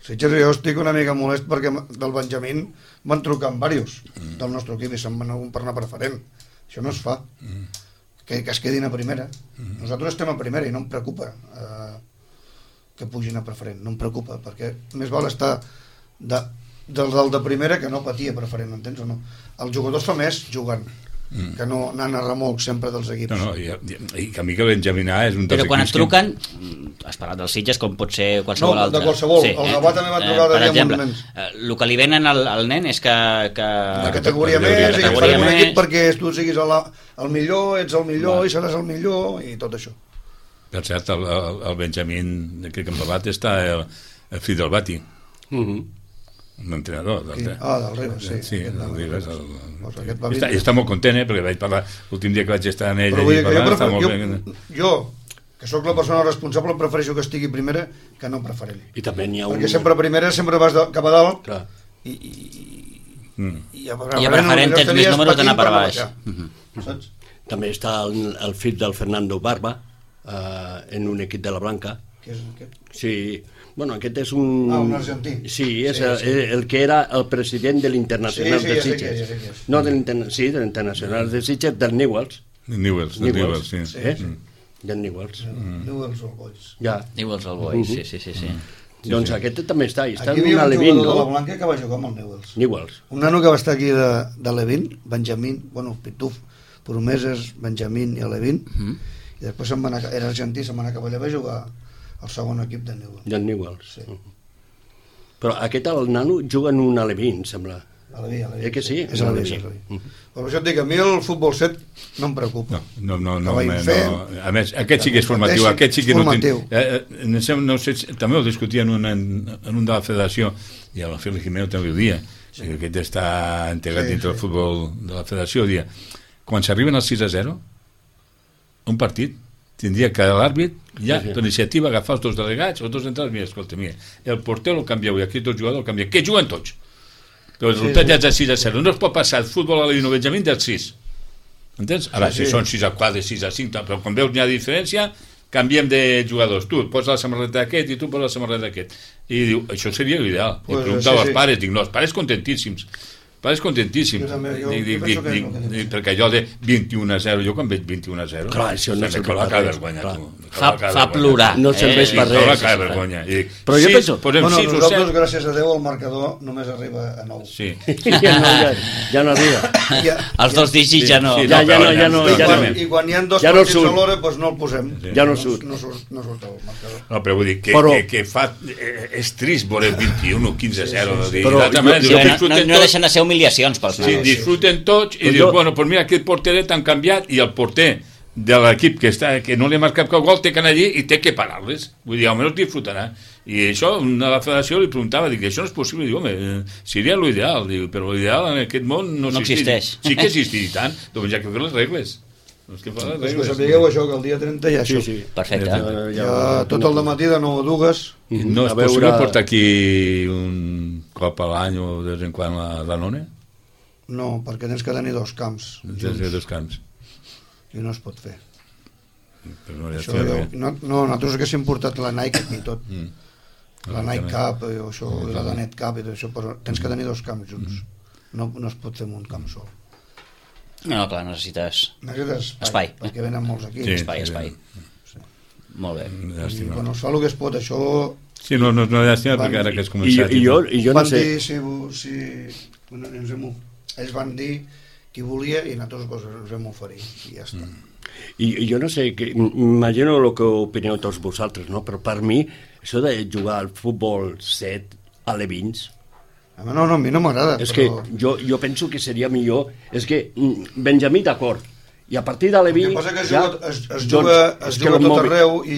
D: Sitges jo estic una mica molest perquè m- del Benjamín van trucant diversos
B: Mm.
D: del nostre equip i se'n van algun per anar preferent. Això no es fa.
B: Mm.
D: Que, que es quedin a primera. Nosaltres estem a primera i no em preocupa eh, que pugin a preferent. No em preocupa, perquè més val estar de, del, del de primera que no patir a preferent, entens o no? Els jugadors fa més jugant que no anant a remolc sempre dels equips.
B: Mm. No, no, i, i, i que a mi que Benjamin A és un dels
A: Però quan et
B: equips que-
A: truquen, mm, has parlat dels Sitges com pot ser qualsevol
D: No, de
A: altre. Eh,
D: qualsevol. El Gavà també va trucar
A: per
D: ara ja
A: exemple,
D: molts nens.
A: eh, El que li venen al, al nen és que... que
D: la
B: Eh,
D: categoria
B: la categoria més.
D: més, i et farem un
A: Categoria
D: equip
A: més.
D: perquè tu siguis el, el millor, ets el millor,
A: Va.
D: i seràs el millor, i tot això.
B: Per cert, el, el, el Benjamin, crec que hem parlat, està el, el fill del Bati,
C: Mm -hmm.
B: un entrenador. Del, E.
D: Sí. Ah, del Ribas, sí.
B: Sí,
D: Aquest
B: del
D: del
B: Ribas. El,
D: Doncs
B: sí.
D: aquest va
B: està,
D: vindre.
B: està molt content, eh, perquè vaig parlar l'últim dia que vaig estar amb ell
D: Però
B: allí
D: vull dir que jo,
B: parlant, està molt
D: prefer, jo, jo, que sóc la persona responsable, prefereixo que estigui primera que no preferent.
C: I també n'hi ha un...
D: Perquè sempre primera, sempre vas de, cap a dalt,
C: Clar.
D: i, i,
B: Mm.
A: I
D: i a
A: a
D: preferent
A: preferent
D: potser
A: tens més
D: estaries
A: números d'anar per
D: patint
A: baix.
D: anar
A: Mhm.
D: baixar, Saps?
C: També està el, el fill del Fernando Barba eh, en un equip de la Blanca.
D: Que és, que...
C: Sí, bueno, aquest és un...
D: Ah, un argentí.
C: Sí, és
D: Sí,
C: el,
D: sí.
C: el que era el president de l'Internacional
D: Sí, sí,
C: de
D: ja sé
C: Sitges.
D: qui és, ja sé qui és.
C: No, de l'Interna- sí, de l'Internacional de Sitges, del Newells.
B: Newells, del Newells, sí. Mm.
D: Sí.
C: Eh? Del Newells.
D: Mm. Diu els All Boys.
C: Ja.
A: Newell's el Boy, sí, sí, sí. sí.
C: Doncs aquest també està, i està
D: Aquí hi
C: en un
D: havia un
C: alevín,
D: jugador de la
C: no?
D: Blanca que va jugar amb el Newells.
C: Newells.
D: Un nano que va estar aquí de, de Levin, Benjamín, bueno, Pituf, Promeses, Benjamín i Levin, mm. i després se'n va anar, era argentí, se'n va anar cap allà va jugar al segon equip de Newell.
C: Del Newells.
D: Sí.
C: Però aquest, el nano, juga en un alevín, em sembla.
D: Aleví, Aleví.
C: Eh que sí?
D: És Aleví, és Aleví. Però això et dic, a mi el futbol set no em preocupa.
B: No, no, no,
D: Que
B: no,
D: vagin
B: no,
D: fent.
B: no. A més, aquest sí que és formatiu,
D: Deixin-
B: aquest sí que
D: formatiu.
B: no tinc... Eh, eh, em sembla- no sé, si- també ho discutia en un, en, en un de la federació, i el Fili Gimeno també ho dia, sí. aquest està integrat
D: Sí,
B: sí, dintre
D: sí.
B: del futbol de la federació, dia, quan s'arriben al 6 a 0, un partit, tindria que l'àrbit ja
C: Sí, sí.
B: d'iniciativa agafar els dos delegats o dos entrats, mira, escolta, mira, el porter el canvieu i aquí tot jugador el canvia, que juguen tots però el resultat ja és de 6 a 0 no es pot passar el futbol a la Lino Benjamín del 6 entens? ara
D: Sí,
B: si
D: sí.
B: són 6 a 4, 6 a 5 tal, però quan veus n'hi ha diferència canviem de jugadors, tu et posa la samarreta aquest i tu posa la samarreta aquest i diu, això seria l'ideal
D: Pues,
B: pues, i preguntava
D: sí,
B: als
D: sí.
B: pares, dic, no, els pares contentíssims pares contentíssims
D: Jo també, jo-
B: dic,
D: jo
B: dic,
D: penso
B: dic,
D: que és
B: dic,
D: el que
B: dic,
D: dius.
B: perquè allò de 21 a 0 jo quan veig 21 a 0
C: Clar, això no
B: sembla
C: serveix
B: que
C: per
B: l'acabes
C: res,
B: guanyant
C: clar.
B: tu, que
A: Fa,
B: l'acabes
A: fa
B: guanyant.
A: plorar. Eh,
C: No serveix
B: Sí,
C: per
B: per
C: res.
B: res.
C: sí, sí,
B: Acaba
C: sí.
B: vergonya. I dic,
C: Però jo
B: sis,
C: penso-
B: Posem
D: bueno,
B: bueno, sis o
D: nosaltres,
B: set.
D: gràcies a Déu, el marcador només arriba a 9.
B: Sí.
C: Ja no, ja, ja no arriba.
D: Ja,
A: Els dos digits ja no...
B: Sí,
C: Ja, ja no, ja no,
D: I
B: Sí,
C: ja
D: quan,
C: no.
B: exactament.
D: I quan hi ha dos
C: Ja no
D: partits
C: surt.
D: a l'hora, doncs no el posem.
C: Ja no surt.
D: No, surt, no surt el marcador.
B: No, però vull dir que,
C: Però-
B: que, que fa, eh, és trist veure 21 o 15 a 0. Sí, sí, sí.
C: Però jo- Ah,
A: Sí, no, no, no deixen de ser humiliacions pels
B: Sí,
A: nanos.
B: disfruten tots i
C: Però
B: dius,
C: jo-
B: bueno, doncs mira, aquest porteret han canviat i el porter de l'equip que, està, que no li ha marcat cap gol té que anar allí i té que parar-les. Vull dir, almenys disfrutarà. I això, una de la federació li preguntava, dic, això no és possible, diu, home, eh, seria l'ideal, diu, però l'ideal en aquest món no,
A: No existeix.
B: Sí que existeix i tant, doncs ja que fer les regles. Doncs que fa les
D: Doncs que
B: regles.
D: sapigueu això, que el dia 30 hi ha
C: Sí,
D: això.
C: sí. Eh,
A: Perfecte. eh?
C: Ja,
D: Ja, tot el matí de 9 a 2,
B: I No és
C: A veure-
B: possible portar aquí un cop a l'any o de vegades en quan la Danone?
D: no, perquè tens que tenir dos camps.
B: Des de dos camps.
D: I no es pot fer.
B: Però no, ja
D: Això, jo, no, no, nosaltres haguéssim portat la Nike aquí i tot. La Nike Cup, eh, o això, i la Danet Cup i tot això, però tens que tenir dos camps junts. No, no es pot fer amb un camp sol.
A: No, clar, necessites...
D: Necessites espai,
A: Espai.
D: perquè venen molts aquí.
B: Sí.
A: Espai, espai. Molt bé.
D: I
B: Llàstima.
D: quan es fa el que es pot, això...
B: Sí, no, no, no llàstima
D: Van-
B: perquè ara que has
C: I,
B: començat...
C: I jo, i jo no
D: van
C: sé...
D: dir si... vo- si bueno, ens hem, ells van dir qui volia i nosaltres pues, ens vam oferir. I ja està.
C: I, i jo no sé, que, imagino el que opineu tots vosaltres, no? però per mi això de jugar al futbol set a Levins,
D: A mi no, no, a mi no m'agrada,
C: és que
D: Ah, però...
C: jo, jo penso que seria millor, és que mm, Benjamí d'acord, i a partir doncs, de Leví...
D: El que passa que es juga, es, es juga, es juga a tot arreu i,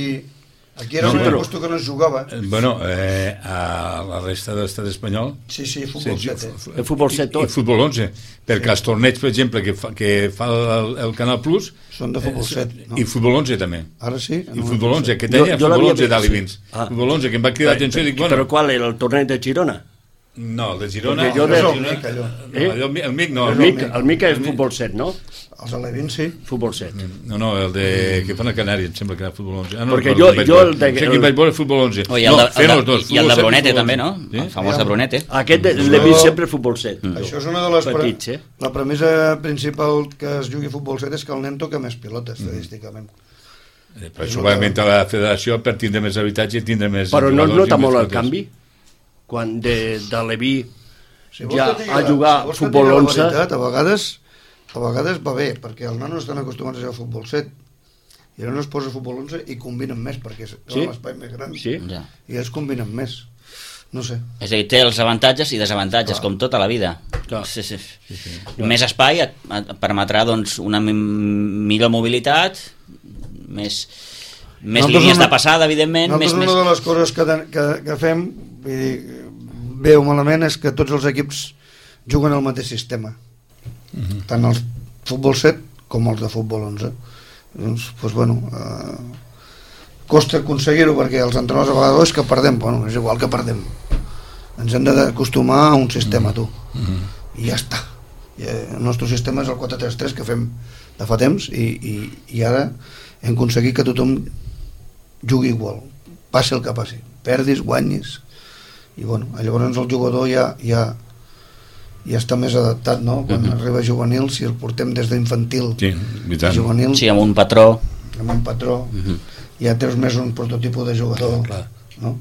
D: Aquí era
B: No,
D: no, un
B: però-
D: lloc que no es jugava.
B: Bueno, eh, a la resta de l'estat espanyol
D: Sí, sí, futbol
B: Sí,
D: set, eh?
B: fu-
C: El futbol set
B: i-
C: tot.
B: I futbol 11, perquè els torneigs, per exemple, que fa, que fa el, el Canal Plus...
D: Són de futbol
B: eh,
D: set, no?
B: I futbol 11 també.
D: Ara sí?
C: Ah,
B: I futbol 11, que
C: Jo-
B: tenia
C: jo
B: futbol
C: l'havia
B: 11
C: vist,
B: d'Ali
C: sí.
B: Vins.
C: Ah.
B: Futbol 11, que em va cridar l'atenció i dic, bueno...
C: Però qual era, el torneig de Girona?
B: No, el de Girona...
C: Perquè jo
B: el de
C: de-
B: Girona-
D: Mica, allò.
B: no, allò- el, Mic no.
C: El
B: no,
C: Mica, Eh? el Mm. Mica és futbol 7, no?
D: Els alevins, sí.
C: Futbol 7.
B: No, no, el de... que fan a Canàries, em sembla que era futbol 11. Ah, no,
C: Perquè
B: no,
C: jo-
B: no vaig
C: jo
B: veure.
C: el de-
B: Em sembla que
C: el-
B: vaig veure futbol 11.
A: Oi, Oh, el
B: no,
A: de,
B: fem
A: el
B: els
A: de, I
B: dos.
A: el de
B: futbol set i
A: Brunete
B: futbol
A: també, no?
B: 11.
A: El famós de Brunete.
C: Aquest de- l'he vist sempre futbol 7.
D: Això és una de les...
C: Petits, eh?
D: La premissa principal que es jugui a futbol set és que el nen toca més pilotes,
C: Mm.
D: estadísticament.
B: Eh, Però això ho va inventar la federació per tindre més habitatge i tindre més...
C: Però no es
B: jugadors i
C: nota
B: més
C: molt el
B: coses.
C: canvi? Quan de, de Leví
D: Si vols
C: ja
D: que et digui
C: a
D: la-
C: jugar
D: si vols que et
C: futbol
D: digui la
C: 11...
D: Veritat, a vegades a vegades va bé, perquè els nanos estan acostumats a jugar a futbol 7 i ara no es posa a futbol 11 i combinen més perquè és
C: Sí?
D: sí? l'espai més gran
C: Sí.
A: Ja.
D: i ells combinen més no sé,
A: És a dir, té els avantatges i desavantatges, com tota la vida.
C: Clar.
A: Sí, sí. Sí, sí. Més espai et, et permetrà doncs, una mi- millor mobilitat, més, més
D: Nosaltres
A: línies
D: una-
A: de passada, evidentment, més,
D: nosaltres una
A: més...
D: de les coses que, de- que, que fem vull dir, bé o malament és que tots els equips juguen al mateix sistema
A: Mhm.
D: tant els futbol 7 com els de futbol 11 doncs, doncs bueno eh, costa aconseguir-ho perquè els entrenadors a vegades "Oh, és que perdem, bueno, és igual que perdem ens hem d'acostumar a un
A: Mhm.
D: sistema tu, i ja està I, eh, el nostre sistema és el 4-3-3 que fem de fa temps i, i, i ara hem aconseguit que tothom jugui igual passi el que passi, perdis, guanyis i bueno, llavors el jugador ja, ja, ja està més adaptat no? quan arriba juvenil si el portem des d'infantil
B: Mhm. Sí, i tant.
D: juvenil
A: Sí, amb un patró. Mhm.
D: amb un patró ja treus més un prototipus de jugador no?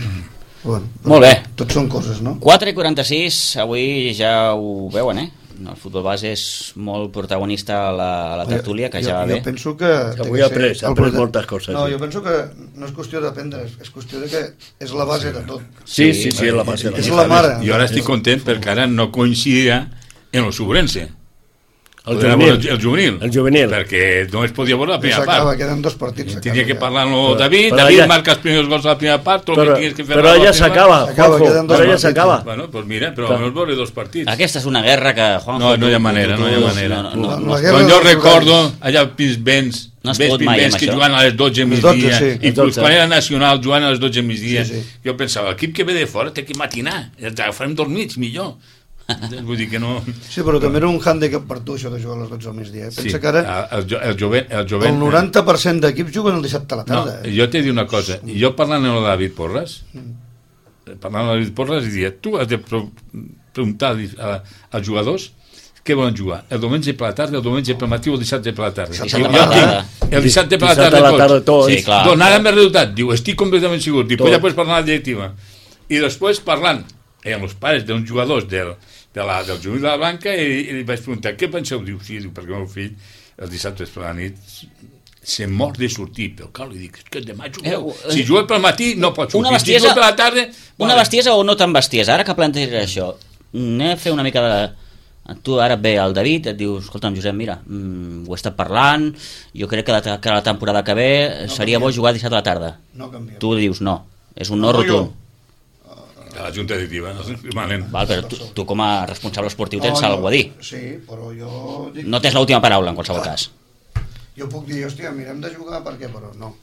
B: Mhm.
D: bueno,
A: Molt bé.
D: tot són coses no?
A: 4 i 46, avui ja ho veuen, eh? El futbol base és molt protagonista a la, a la tertúlia, que
D: jo,
A: ja va
D: jo
A: bé.
D: penso que... té
C: avui
D: que
C: ha
D: ser
C: après, ha
D: el
C: après
D: prota-
C: moltes coses,
D: No,
C: sí.
D: jo penso que no és qüestió d'aprendre, és qüestió de que és la base de tot.
C: Sí, sí, sí, la base. de
D: És
C: Eh, la-
D: la mare.
B: Jo ara estic content perquè ara no coincidirà en el sobrense.
C: El
B: Podrà
C: juvenil.
B: veure El juvenil.
C: El juvenil.
B: Perquè no es podia veure la
D: I
B: primera
D: S'acaba,
B: part.
D: queden dos partits.
B: Tenia
D: s'acaba
B: que
D: ja.
B: parlar amb el David,
C: Però
B: David
C: ja-
B: marca els primers gols de la primera part, tot el
C: Però,
B: que tienes que fer...
C: però
B: la
C: ja
B: primera
C: s'acaba,
B: part.
D: S'acaba,
C: Juanjo,
D: queden dos
C: però ja
D: partits.
C: s'acaba.
B: Bueno, doncs mira, però
C: Clar.
B: almenys veuré dos partits.
A: Aquesta és una guerra que, Juanjo...
B: No, no hi ha
A: tu-
B: manera,
A: tu-
B: no hi ha
A: tu-
B: manera.
A: No, no,
D: La-
A: no.
D: la guerra
B: Quan jo
D: dels
B: recordo
D: horaris.
B: allà Pinsbens,
A: No es
B: Vens
A: pot mai,
B: Pinsbens
A: amb
B: que
A: això.
B: juguen a les 12
D: Les 12,
B: migdia,
D: sí.
B: i
C: Les 12.
B: quan era nacional juguen a les 12 migdia.
D: Sí, sí.
B: Jo pensava, l'equip que ve de fora té que matinar, ens agafarem dormits, millor. Vull dir que no...
D: Sí, però també era un handicap per tu, això de jugar a les 12 al migdia. eh? Pensa que ara
B: el, el, jo- el jovent, el jovent,
D: el 90% d'equips juguen el dissabte a la
B: No,
D: tarda. eh?
B: jo t'he dit una cosa, jo parlant amb el David Porres,
C: Mm.
B: parlant amb el David Porres, i dia, tu has de pro- preguntar als- a, als jugadors què volen jugar, el diumenge per la tarda, el diumenge per la matí o el dissabte per la tarda.
A: Dissabte
B: Diu,
A: per la
B: jo tinc
A: tarda.
B: El dissabte per la
C: Dissabte
B: tarda,
C: a la tarda tots.
A: Sí, clar.
B: Doncs ara més resultat. Diu, estic completament segur. Diu,
C: Tot.
B: ja pots parlar amb la directiva. I després parlant eh, amb els pares d'uns jugadors del, de la, del jugador de la Blanca i, i li vaig preguntar, què penseu? Diu, sí, diu, perquè el meu fill el dissabte per la nit se mor de sortir pel cal i dic, és que demà
A: Eh,
B: jugueu.
A: eh,
B: uh, Si jugueu pel matí no pots sortir.
A: Una bestiesa-
B: Si jugueu per la tarda...
A: Una bestiesa o no tan bestiesa? Ara que planteges això, anem a fer una mica de... Tu ara et ve el David, et diu, escolta'm, Josep, mira, mm, ho he estat parlant, jo crec que la, que la temporada que ve eh, seria bo jugar dissabte a la tarda.
D: No canvia.
A: Tu dius no, és un no
D: No, jo.
A: rotund.
B: A la junta directiva. No? Manen.
A: Val, però tu, tu com a responsable esportiu tens
D: Oh, No,
A: alguna cosa a dir.
D: Sí, però jo... Dic,
A: No tens l'última paraula, en qualsevol cas.
D: jo puc dir, hòstia, mirem de jugar perquè, però no.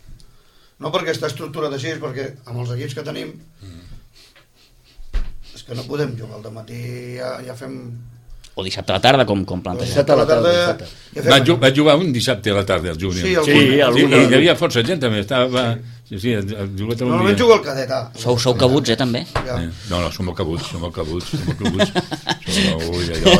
D: No perquè està estructurat així, és perquè amb els equips que tenim és que no podem jugar al matí ja, ja fem...
A: O dissabte a la tarda, com, com planteges.
C: Dissabte a la tarda,
D: ja fem
B: Va, ju va jugar un dissabte a la tarda, el júnior.
D: Sí, el
C: Sí,
D: sí,
B: Sí,
C: algun-
B: i hi havia força gent també, estava... Sí, sí, el, el, el, el,
D: Normalment jugo al cadet, ah.
A: Sou, sou cabuts, eh, també?
D: Ja.
B: Eh, No, no, som molt cabuts, som molt cabuts, som molt cabuts. Som, ui, allò,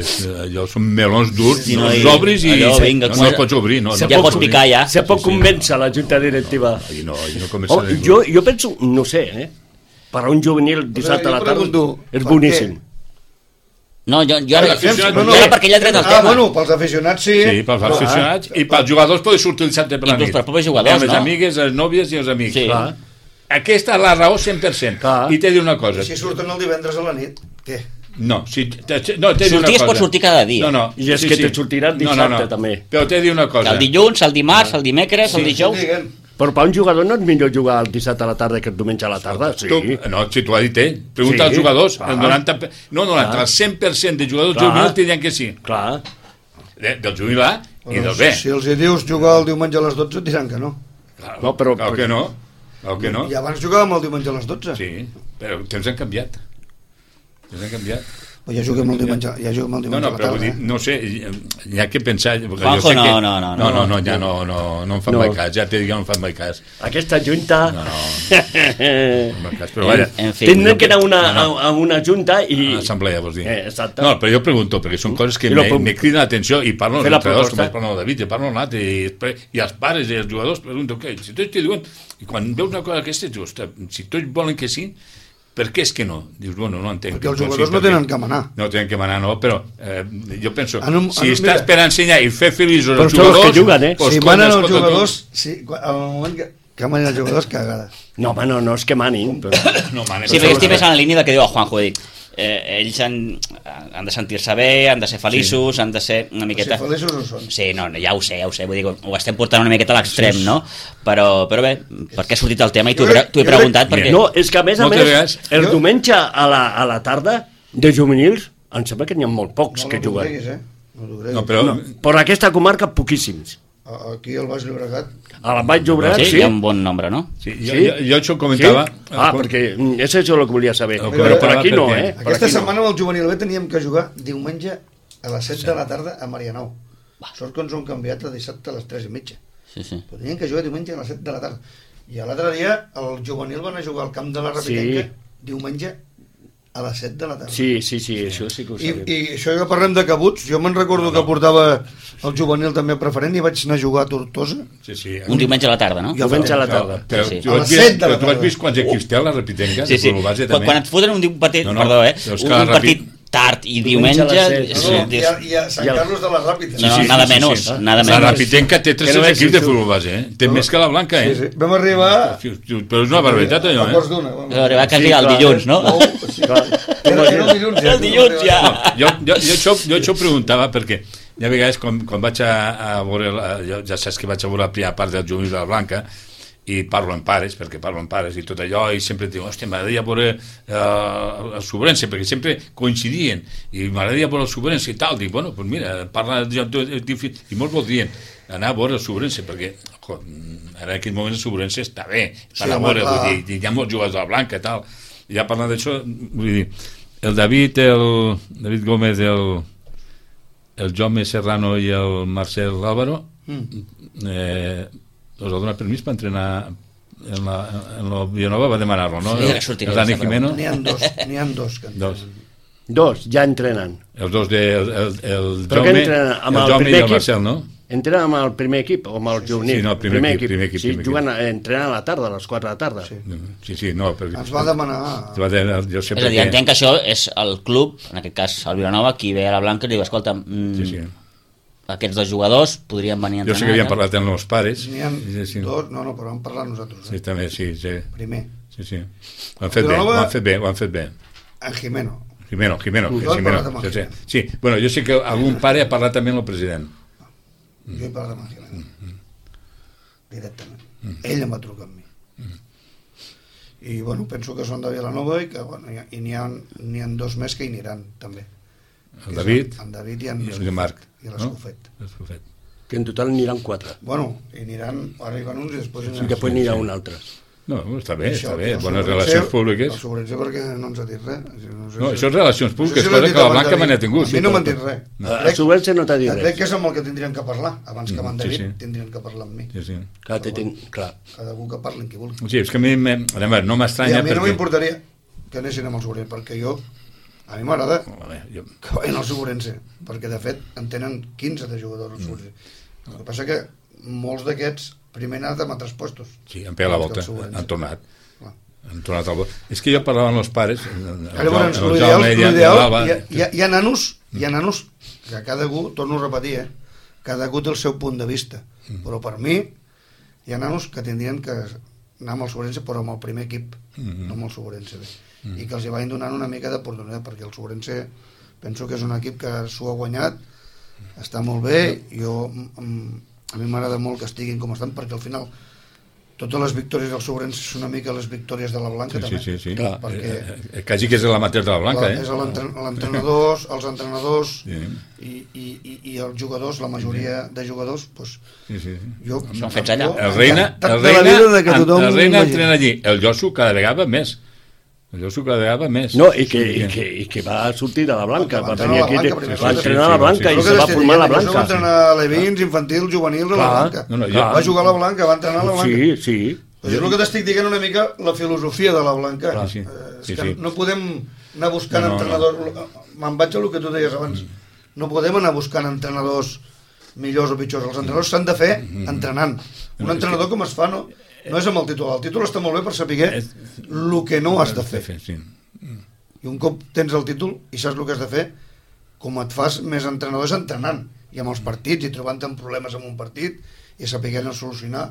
B: és, allò són melons durs,
A: Sí,
B: sí, no,
A: no, i-
B: els obris i
A: allò, vinga,
B: no, no
A: quan-
B: els pots obrir. No,
A: Ja
B: no els
A: pots
B: obrir.
A: picar, ja.
C: Se pot
B: Sí, sí.
C: convèncer la junta directiva.
B: I no, i no comença
C: Oh,
B: ningú.
C: jo, jo penso, no sé, eh? Per a un juvenil dissabte a la
D: jo
C: tarda
D: pregunto,
C: és
D: per
C: boníssim.
D: què?
A: No, jo, jo,
B: Ai,
A: jo,
B: aficionat,
A: jo,
B: no, no.
A: era perquè ell ha tret el
D: Ah,
A: tema.
D: bueno, pels aficionats sí.
B: Sí, pels
D: però,
B: aficionats i pels jugadors poden sortir el dissabte per la
A: Inclús
B: nit.
A: per propis jugadors,
B: Amb les
A: no?
B: amigues, les nòvies i els amics.
A: Sí.
C: Clar.
B: Aquesta és la raó 100%.
C: Clar.
B: I t'he de dir una cosa.
D: I ah, si surten el divendres a la nit, què?
B: No, si, te- te- no, t'he de dir una
A: Sortir es
B: cosa.
A: pot sortir cada dia.
B: No, no.
C: I és que te sortirà el dissabte, també.
B: Però t'he de dir una cosa.
A: El dilluns, el dimarts, el dimecres, el
B: Sí.
A: dijous...
D: Diguem,
C: Però per un jugador no és millor jugar el dissabte a la tarda que el diumenge a la tarda, sí.
B: Tu, no, si t'ho ha dit ell. Pregunta
C: Sí,
B: als jugadors.
C: clar.
B: El 90, pe- no, 90,
C: Clar.
B: el 100% de jugadors
C: Clar.
B: juvenils diran que sí.
C: Clar,
B: De, del juvenil A i del B.
D: Però Si els hi dius jugar el diumenge a les 12, et diran que no.
B: Clar,
C: No, però-
B: clar que no. Clar que no.
D: I abans jugàvem el diumenge a les 12.
B: Sí, però temps han canviat. Temps han canviat.
D: Però ja juguem el diumenge, ja juguem el
B: No,
D: diumenge
B: no,
D: a la
B: però
D: tarda.
B: vull dir,
D: eh?
B: no sé, hi ha que pensar... perquè jo
A: Juanjo,
B: sé
A: no,
B: que,
A: no, no,
B: no,
A: no.
B: no, no, ja no, no, no em fan
C: No.
B: mai cas, ja t'he dit que no em fan mai cas.
C: aquesta junta...
B: No, no,
C: Eh,
B: no em fan cas, però vaja,
A: En fi,
C: Tindrem
A: no-
C: que anar a una,
B: no, Ah, no.
C: a, a una junta i...
B: una assemblea, vols dir.
C: Eh, exacte.
B: No, però jo pregunto, perquè són coses que
C: I la
B: me-
C: prom-
B: me criden l'atenció i parlo
C: Fer
B: els
C: la
B: entrenadors, com
C: proposta.
B: parlo el David, i parlo el Nat, i, després- i els pares i els jugadors pregunten, què, si tots t'hi diuen... I quan veus una cosa d'aquesta, dius, ostres, si tots volen que sí, per què és que no? Dius, bueno, no entenc.
D: Perquè els
B: Doncs sí,
D: jugadors no
B: perquè-
D: tenen que manar.
B: No tenen que manar, no, però eh, jo penso,
C: Ah,
D: En un-
B: si
D: en un-
B: estàs
D: mira.
B: per ensenyar i fer feliços
C: Però
B: els
C: són els
B: jugadors...
C: que juguen, eh?
B: doncs,
D: si
B: cony,
D: manen els
B: escolta,
D: jugadors, si, quan- al moment que, que manen els jugadors, cagada.
C: No, home, no, no és que manin. Però...
B: No, manen.
A: Sí, este perquè estic més en la línia del que diu el Juanjo, dic, eh, ells han, han de sentir-se bé, han de ser feliços, sí. han de ser una miqueta...
D: Si feliços no són.
A: Sí, no, no, ja ho sé, ja ho sé, vull dir, que ho estem portant una miqueta a l'extrem, no? Però, però bé, perquè ha sortit el tema i t'ho
D: Jo
A: he
D: crec-
A: t'ho he
D: jo crec-
A: preguntat perquè...
C: No, és que a més a
B: Moltes
C: més,
B: vegades-
C: el
D: Jo-
C: diumenge a la, a la tarda, de juvenils, em sembla que n'hi ha molt pocs
D: No,
C: que
D: no t'ho
C: juguen.
D: creguis, eh? No t'ho creguis.
B: No, però...
C: No, per aquesta comarca, poquíssims.
D: A- Aquí al Baix Llobregat,
C: A la Vall d'Obrat,
A: sí,
C: sí.
A: hi ha un bon nombre, no?
B: Sí, jo, jo, jo això ho
C: Sí?
B: comentava...
C: Ah, perquè mm, és això el que volia saber.
B: Ho
C: Però per
B: comentava
C: aquí no,
B: perquè-
C: eh? Per
D: Aquesta
C: aquí no.
D: setmana amb el juvenil B teníem que jugar diumenge a les 7 de la tarda a Marianou. Sort que ens ho han canviat a dissabte a les 3 i mitja.
A: Sí, sí.
D: Però teníem que jugar diumenge a les 7 de la tarda. I l'altre dia el juvenil van a jugar al camp de la Repiquenca
C: Sí.
D: diumenge a les 7 de la tarda.
C: Sí, sí, sí, això sí que ho
D: I,
C: sabem.
D: I això que parlem de cabuts, jo me'n recordo que portava el juvenil també a preferent i vaig anar a jugar a Tortosa.
B: Sí, sí.
A: Un diumenge a la tarda, no?
D: Jo
C: Diumenge a la
B: No,
C: tarda.
B: Però,
A: Sí. Oh.
B: tu,
D: A
B: has
D: les
B: vist,
D: set de la
B: però tu has
D: tarda.
B: vist quants equips té la repitenca?
A: Sí, sí.
B: Base,
A: Quan, quan et foten un di- un partit,
B: No,
A: no,
B: no.
A: no. perdó, eh?
B: Doncs
A: Un
B: clar,
A: partit
B: ràpid.
A: tard i
C: Diumenge
A: diumenge...
C: a les set.
A: sí,
D: No, no,
A: dius-
D: i a, i a Sant
C: I el-
D: Carlos de la Ràpida.
A: No, no,
B: sí,
A: nada
B: sí, sí,
A: menos,
B: sí.
A: nada
B: La
A: menos.
B: repitenca té tres
D: Sí, sí,
B: equips
D: sí,
B: de
D: sí.
B: futbol base, eh? Té
D: No.
B: més que la blanca,
D: Sí,
B: eh?
D: sí. Vam arribar
B: Però és una barbaritat, allò,
D: a quarts
B: eh?
D: d'una. vam
A: Però arribar quasi
C: Sí,
A: al
C: clar.
A: dilluns, no?
D: Nou, sí. Era, era el dilluns, ja.
A: El dilluns ja.
B: No, jo, jo, jo, això, jo això ho preguntava perquè hi ha vegades quan, quan vaig a, a veure la, jo, ja saps que vaig a veure la primera part del juvenil de la Blanca i parlo amb pares, perquè parlo amb pares i tot allò, i sempre dic, hòstia, m'agradaria veure eh, el Sobrense, perquè sempre coincidien, i m'agradaria veure el Sobrense i tal, dic, bueno, doncs mira, parla de joc de- de- i molts voldrien anar a veure el Sobrense, perquè jo, ara en aquell moment el Sobrense està bé, per
D: Sí,
B: sí, a
D: home,
B: veure,
D: clar.
B: vull dir, i hi ha molts jugadors de la Blanca i tal i ja parlant d'això vull dir, el David el David Gómez el, el Jaume Serrano i el Marcel Álvaro mm. eh, us ha donat permís per entrenar en la, en la Villanova va demanar-lo no?
A: Sí, ara
B: el,
A: sortiré
B: el Dani
A: aquesta pregunta.
B: Jimeno
D: N'hi ha dos, n'hi ha dos. Que...
B: dos.
C: Dos, ja entrenen.
B: els dos de el, el, el
C: Però
B: Jaume,
C: que entrenen amb
B: el
C: el
B: Jaume i
C: primer
B: el
C: equip?
B: Marcel no?
C: Entrenen amb el primer equip o amb el juvenil?
B: sí, no, el primer equip, primer equip,
C: Sí,
B: primer
C: juguen, a- entrenen a la tarda, a les 4 de la tarda. Sí.
B: sí, sí, no perquè,
D: Ens va demanar...
B: Ens va demanar- jo sé
A: És a dir,
B: perquè-
A: entenc que això és el club, en aquest cas el Vilanova, qui ve a la Blanca i diu, escolta, mm,
B: sí, sí.
A: aquests dos jugadors podrien venir a
B: jo
A: entrenar.
B: sé que havien
A: ja?"
B: parlat amb els pares
D: N'hi ha
B: sí, sí,
D: dos, no, no, però vam parlar nosaltres.
B: sí,
D: Eh?
B: també, sí, sí.
D: Primer,
B: Sí, sí. Ho han fet bé, ho
D: Vilanova-
B: han fet bé, ho han fet bé.
D: en Jimeno.
B: Jimeno, Jimeno,
D: Ui.
B: que Jimeno.
D: Jo he parlat amb
B: Sí,
D: el
B: sí.
D: Jimeno.
B: sí, bueno, jo sé que algun pare ha parlat també amb el president.
D: Jo he parlat amb el Jimeno.
B: Mm-hmm.
D: Directament. Ell em va trucar amb mi.
B: Mm-hmm.
D: I, bueno, penso que són de Vilanova i que, bueno, hi ha- i n'hi ha, n'hi ha dos més que hi aniran, també. Que
B: El
D: és
B: David
D: En David i en,
B: i el Marc.
D: I l'Escofet.
B: No? Escofet.
C: Que en total aniran 4.
D: Bueno, i aniran, arriben uns i després
C: I
B: Ah,
D: aniran.
C: després n'hi ha un altre.
B: No, està bé, està
D: Això, que
B: bé.
D: el
B: Bones
D: Sobrense-
B: relacions
D: El
B: públiques.
D: Sobrense perquè no ens ha dit res. No, sé
B: No,
D: si-
B: això és relacions
D: no sé
B: públiques,
D: si l'ha
B: cosa
D: dit
B: que la
D: abans
B: Blanca
D: de
B: me n'ha
D: mi.
B: tingut.
D: A mi no m'han dit res.
C: A Subelce no t'ha dit
D: crec que
C: res.
D: és amb el que tindrien que parlar. Abans que
B: Mm, sí,
D: m'enderit,
B: sí.
D: tindrien que parlar amb mi.
B: Sí, sí.
C: Clar, té, ten... clar.
D: Cadascú que parli amb qui vulgui.
B: Sí, és que a mi me- a veure, no
D: I
B: m'estranya
D: a mi no
B: perquè...
D: m'importaria que anessin amb el Sobrense, perquè jo... A mi m'agrada
B: A veure, jo-
D: que vagin al Sobrense, perquè de fet en tenen 15 de jugadors al
B: Mm.
D: Sobrense. El que passa que molts d'aquests primer han anat a altres postos.
B: Sí, em pega la volta,
D: El Sobrense.
B: han tornat.
D: Clar.
B: Han tornat al... vol- És que jo parlava amb els pares... el
D: Ara, Llavors,
B: Jaume- el
D: l'ideal,
B: Jaume i el- l'Alba,
D: l'ideal, hi, ha- hi, ha- hi ha nanos, hi ha nanos, que cadascú, torno a repetir, eh, cadascú té el seu punt de vista,
B: Mm.
D: però per mi hi ha nanos que tindrien que anar amb el Sobrense, però amb el primer equip,
B: Mm-hmm.
D: no amb el Sobrense, bé.
B: Mm.
D: i que els hi vagin donant una mica d'oportunitat, perquè el Sobrense penso que és un equip que s'ho ha guanyat, mm, està molt bé, jo, mm, a mi m'agrada molt que estiguin com estan, perquè al final totes les victòries del Sobrens són una mica les victòries de la Blanca,
B: Sí,
D: també.
B: sí, sí.
D: Clar,
B: Clar,
D: perquè
B: eh, eh, quasi que és l'amateur de la Blanca,
D: la,
B: eh?
D: és a l'entren- l'entrenador, els entrenadors
B: Sí.
D: i, i, i, i els jugadors, la majoria de jugadors, doncs,
B: Sí, sí. sí.
D: jo...
A: Són fets allà.
B: El reina,
D: encantat
B: el
D: de la
B: reina,
D: vida de que tothom
B: el reina
D: vagi.
B: entrena allí. El Josu cada vegada més. El Josu cada vegada més.
C: No, i que,
B: O sigui
C: i que, i que va sortir de la Blanca,
D: Va
C: va
D: entrenar
C: venir
D: a la
C: aquí,
D: Blanca primer.
C: va
D: Sí, sí,
C: entrenar a
B: sí,
C: la
B: sí,
C: Blanca
B: sí.
C: i
D: Però
C: se
D: que
C: va
D: estic
C: formar a la
D: dient, això Va
C: Blanca.
D: entrenar l'Evins, infantil, juvenil de la
B: Clar.
D: Blanca.
B: No, no, jo-
D: Va jugar a la Blanca, va entrenar a la Blanca.
C: Sí, sí.
D: Però és el que t'estic dient una mica la filosofia de la Blanca.
B: Clar, sí.
D: Eh, és
B: Sí,
D: que
B: sí.
D: no podem anar buscant
B: No, Mm.
D: no,
B: no,
D: entrenadors... Me'n vaig a el que tu deies abans. No podem anar buscant entrenadors millors o pitjors. Els entrenadors s'han de fer
B: Mm.
D: entrenant. Un entrenador com es fa, no, no és amb el títol. El títol està molt bé per saber
B: És-
D: el que no has de fer.
B: Sí.
D: I un cop tens el títol i saps el que has de fer, com et fas més entrenador és entrenant i amb els partits i trobant-te amb problemes amb un partit i saber-ne solucionar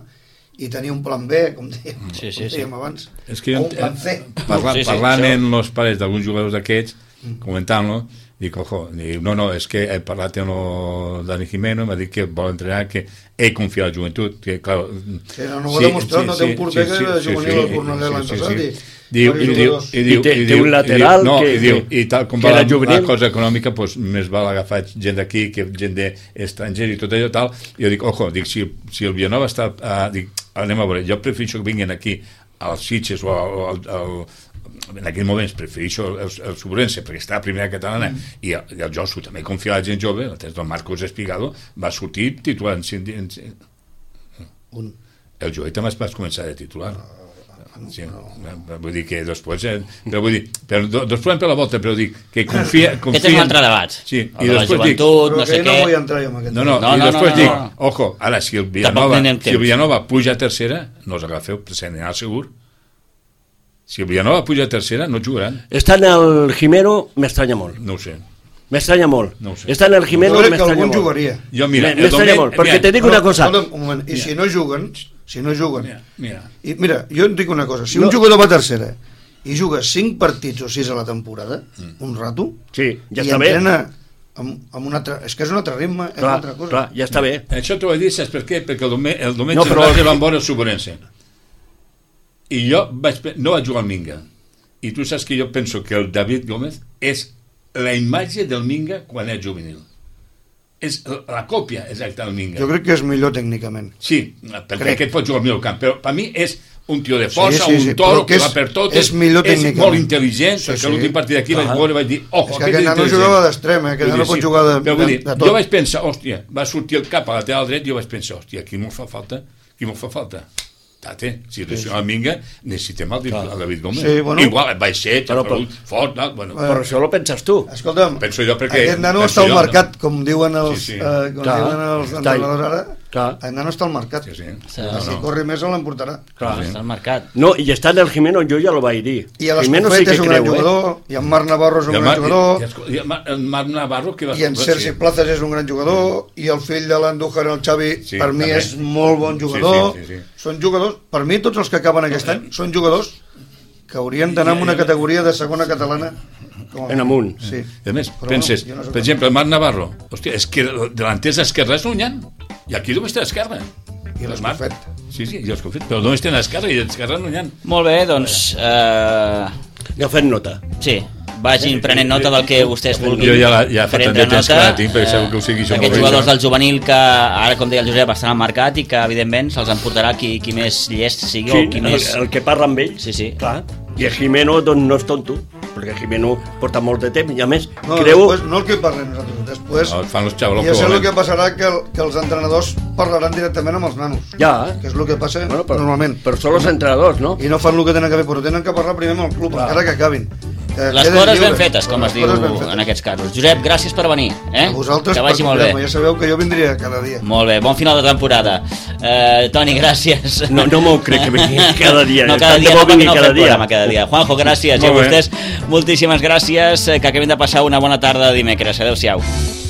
D: i tenir un plan B, com dèiem,
A: Sí, sí,
D: com
A: sí.
D: dèiem abans.
B: És que
D: o
B: jo,
D: un plan C.
B: eh, parla,
A: Sí, sí,
B: parlant
A: això.
B: amb els pares d'alguns jugadors d'aquests,
D: Mm.
B: comentant-lo, dic, ojo, dic, no, no, és que he parlat amb el Dani Jimeno, m'ha dit que vol entrenar, que he confiat en la joventut, que, clar...
D: Sí, no, no ho ha demostrat, no té un porter que era juvenil al Cornellà l'any passat i-
B: Diu, i,
D: diversos
B: diu,
D: jugadors.
B: i, diu,
C: I té-
B: i
C: té
B: diu-
C: un
B: i
C: lateral
B: diu, no,
C: que-
B: i, diu,
C: que-
B: i tal com
C: que
B: va
C: era
B: la, la
C: juvenil.
B: cosa econòmica doncs, més val agafar gent d'aquí que gent d'estranger i tot allò tal i jo dic, ojo, dic, si, si el Vilanova està uh, dic, anem a veure, jo prefereixo que vinguin aquí als Sitges o al, al, al en aquells moments prefereixo el, el, el Sobrense perquè està a primera catalana mm. i, el, i el Josu també confia en la gent jove el temps del Marcos Espigado va sortir titular en, cinc- en, cinc-
D: Un,
B: el Joel també es va començar de titular.
C: Ah,
B: Sí, no. vull dir que després eh, però vull dir, però do, dos podem per la volta però dic que confia, confia
A: Aquest és un altre debat.
B: sí,
A: el
B: i
A: de la
B: després dic
A: joventut,
D: però
A: no sé
D: que jo
A: què...
D: no vull entrar jo en aquest
B: no, no,
A: No,
B: i
A: no, no,
B: després
A: no,
B: dic,
A: no.
B: ojo, ara si el
A: Tampoc
B: Villanova
A: tindrem
B: si
A: temps.
B: el Villanova puja a tercera no us agafeu, se n'anirà segur si el Villanova puja a tercera no jugaran,
C: Estar en el Jimeno m'estranya molt.
B: no ho sé
C: M'estranya molt.
B: No ho sé.
C: Estar en el
D: Jo
C: Jimeno
D: crec que
C: m'estranya
D: algun
C: molt.
D: jugaria.
B: jo mira,
C: Me- m'estranya
B: domen-
C: molt, perquè
B: mira,
C: te dic una cosa.
D: Escolta'm, un moment, I si no juguen, si no juguen,
B: mira, mira,
D: i mira, jo et dic una cosa, si
C: No.
D: un jugador va a tercera i juga 5 partits o 6 a la temporada,
B: Mm.
D: un rato,
C: Sí, ja
D: i
C: està bé.
D: entrena amb, amb un altre... És que és un altre ritme, és una
C: Clar,
D: altra cosa.
C: clar, ja està bé.
B: Eh, Això t'ho he dit, saps per què? Perquè el, diumenge- el diumenge
C: No,
B: no,
C: però-
B: però... van veure el Suborense. I jo vaig, pe- no vaig jugar al Minga. I tu saps que jo penso que el David Gómez és la imatge del Minga quan és juvenil. És la la còpia exacta del Minga.
D: Jo crec que és millor tècnicament.
B: Sí, perquè
D: Crec.
B: crec. aquest pot jugar al meu camp, però per mi és un tio de força,
D: Sí, sí,
B: sí, sí,
D: sí,
B: un toro
D: però que
B: que, va
D: és-
B: per tot,
D: és millor
B: és
D: tècnicament.
B: molt intel·ligent,
D: Sí,
B: sí, perquè
D: sí.
B: sí. l'últim partit d'aquí vaig
C: Clar.
B: veure i vaig dir, oh,
D: És que aquest nano
B: intel·ligent."
D: jugava d'extrem, eh, aquest
B: Vull dir,
D: nano pot jugar de-
B: però vull
D: de-
B: dir,
D: de tot.
B: Jo vaig pensar, hòstia, va sortir el cap a la teva dret i jo vaig pensar, hòstia, qui m'ho fa falta? Qui m'ho fa falta? Tate, si lesiona el Minga, necessitem el, el David Gómez.
D: Sí, bueno.
B: Igual, et baixet,
C: Però,
B: però,
C: però-
B: fort, tal, bueno.
C: Però això ho penses tu.
D: Escolta'm,
B: Penso jo perquè-
D: aquest nano
B: penso
D: està al
B: jo,
D: mercat, com diuen els,
B: Sí, sí.
D: Eh, com
C: Clar,
D: diuen els
C: està ahí.
D: entrenadors ara,
C: Clar.
D: el nano està al mercat.
B: sí, sí.
A: No,
D: Si
B: no.
D: corri més, l'emportarà.
A: Clar, està al mercat.
C: No, i estar en el Jimeno jo ja lo vaig dir.
D: I a
C: Jimeno
D: l'Escofet és un
C: eh?
D: gran jugador, i en Marc Navarro és
B: I
D: un
B: el
D: gran
B: Marc-
D: jugador,
B: i- i el Marc- el Marc Navarro, que va...
D: i en Sergi Plazas és un gran jugador i el fill de l'Andújar, el Xavi,
B: Sí,
D: per mi
B: també.
D: és molt bon jugador
B: Sí, sí, sí, sí.
D: són jugadors, per mi tots els que acaben aquest any són jugadors que haurien d'anar en una categoria de segona catalana com a-
C: En amunt.
D: sí.
B: I a més,
D: Però
B: penses,
D: bueno, jo no sóc
B: per exemple, el Marc Navarro, hòstia, és que delanters d'esquerra no n'hi ha. I aquí només té esquerra.
D: I
B: El
D: l'Escofet.
B: Sí, sí, i els confet, però només tenen esquerra i d'esquerra no n'hi ha.
A: Molt bé, doncs... Eh,
C: Agafem nota.
A: sí, vagin prenent nota del que vostès vulguin.
B: Jo ja la- ja fa tant de
A: Prendre
B: temps que
A: nota,
B: la tinc, perquè
A: eh,
B: sabeu que ho sigui, jo
A: Aquests
B: molt bé,
A: jugadors
B: ja.
A: del juvenil que, ara com deia el Josep, estan al mercat i que, evidentment, se'ls emportarà qui, qui més llest sigui
C: Sí,
A: o qui
C: el,
A: més...
C: el que parla amb ell.
A: Sí, sí.
C: Clar. I el Jimeno doncs, no és tonto, perquè Jimeno porta molt de temps i a més
D: no,
C: creu...
D: després, no el que parlem nosaltres després
B: No, fan els xavalos
D: ja
B: que
D: sé el
B: volen.
D: que passarà que, el- que els entrenadors parlaran directament amb els nanos
C: Ja.
D: que és el que passa
C: Bueno, però,
D: normalment
C: Però són els entrenadors, no?
D: i no fan el que tenen que fer, però tenen que parlar primer amb el club, encara que acabin. Que
A: Les
D: queden
A: coses ben
D: lliures.
A: fetes, com
D: Les
A: es diu
D: coses ben fetes.
A: en aquests casos. Josep, gràcies per venir. Eh?
D: A vosaltres,
A: que vagi
D: per
A: molt bé.
D: convidar-me. Ja sabeu que jo vindria cada dia.
A: Molt bé, bon final de temporada. Eh, Toni, gràcies.
C: No, no m'ho crec que vingui cada dia.
A: No, cada
C: Tant de
A: dia,
C: bo
A: no, perquè
C: vingui
A: no
C: cada
A: cada
C: dia.
A: programa cada dia. Juanjo, gràcies. I a
B: Molt bé.
A: vostès, moltíssimes gràcies. eh, Que acabem de passar una bona tarda de dimecres. Adéu-siau.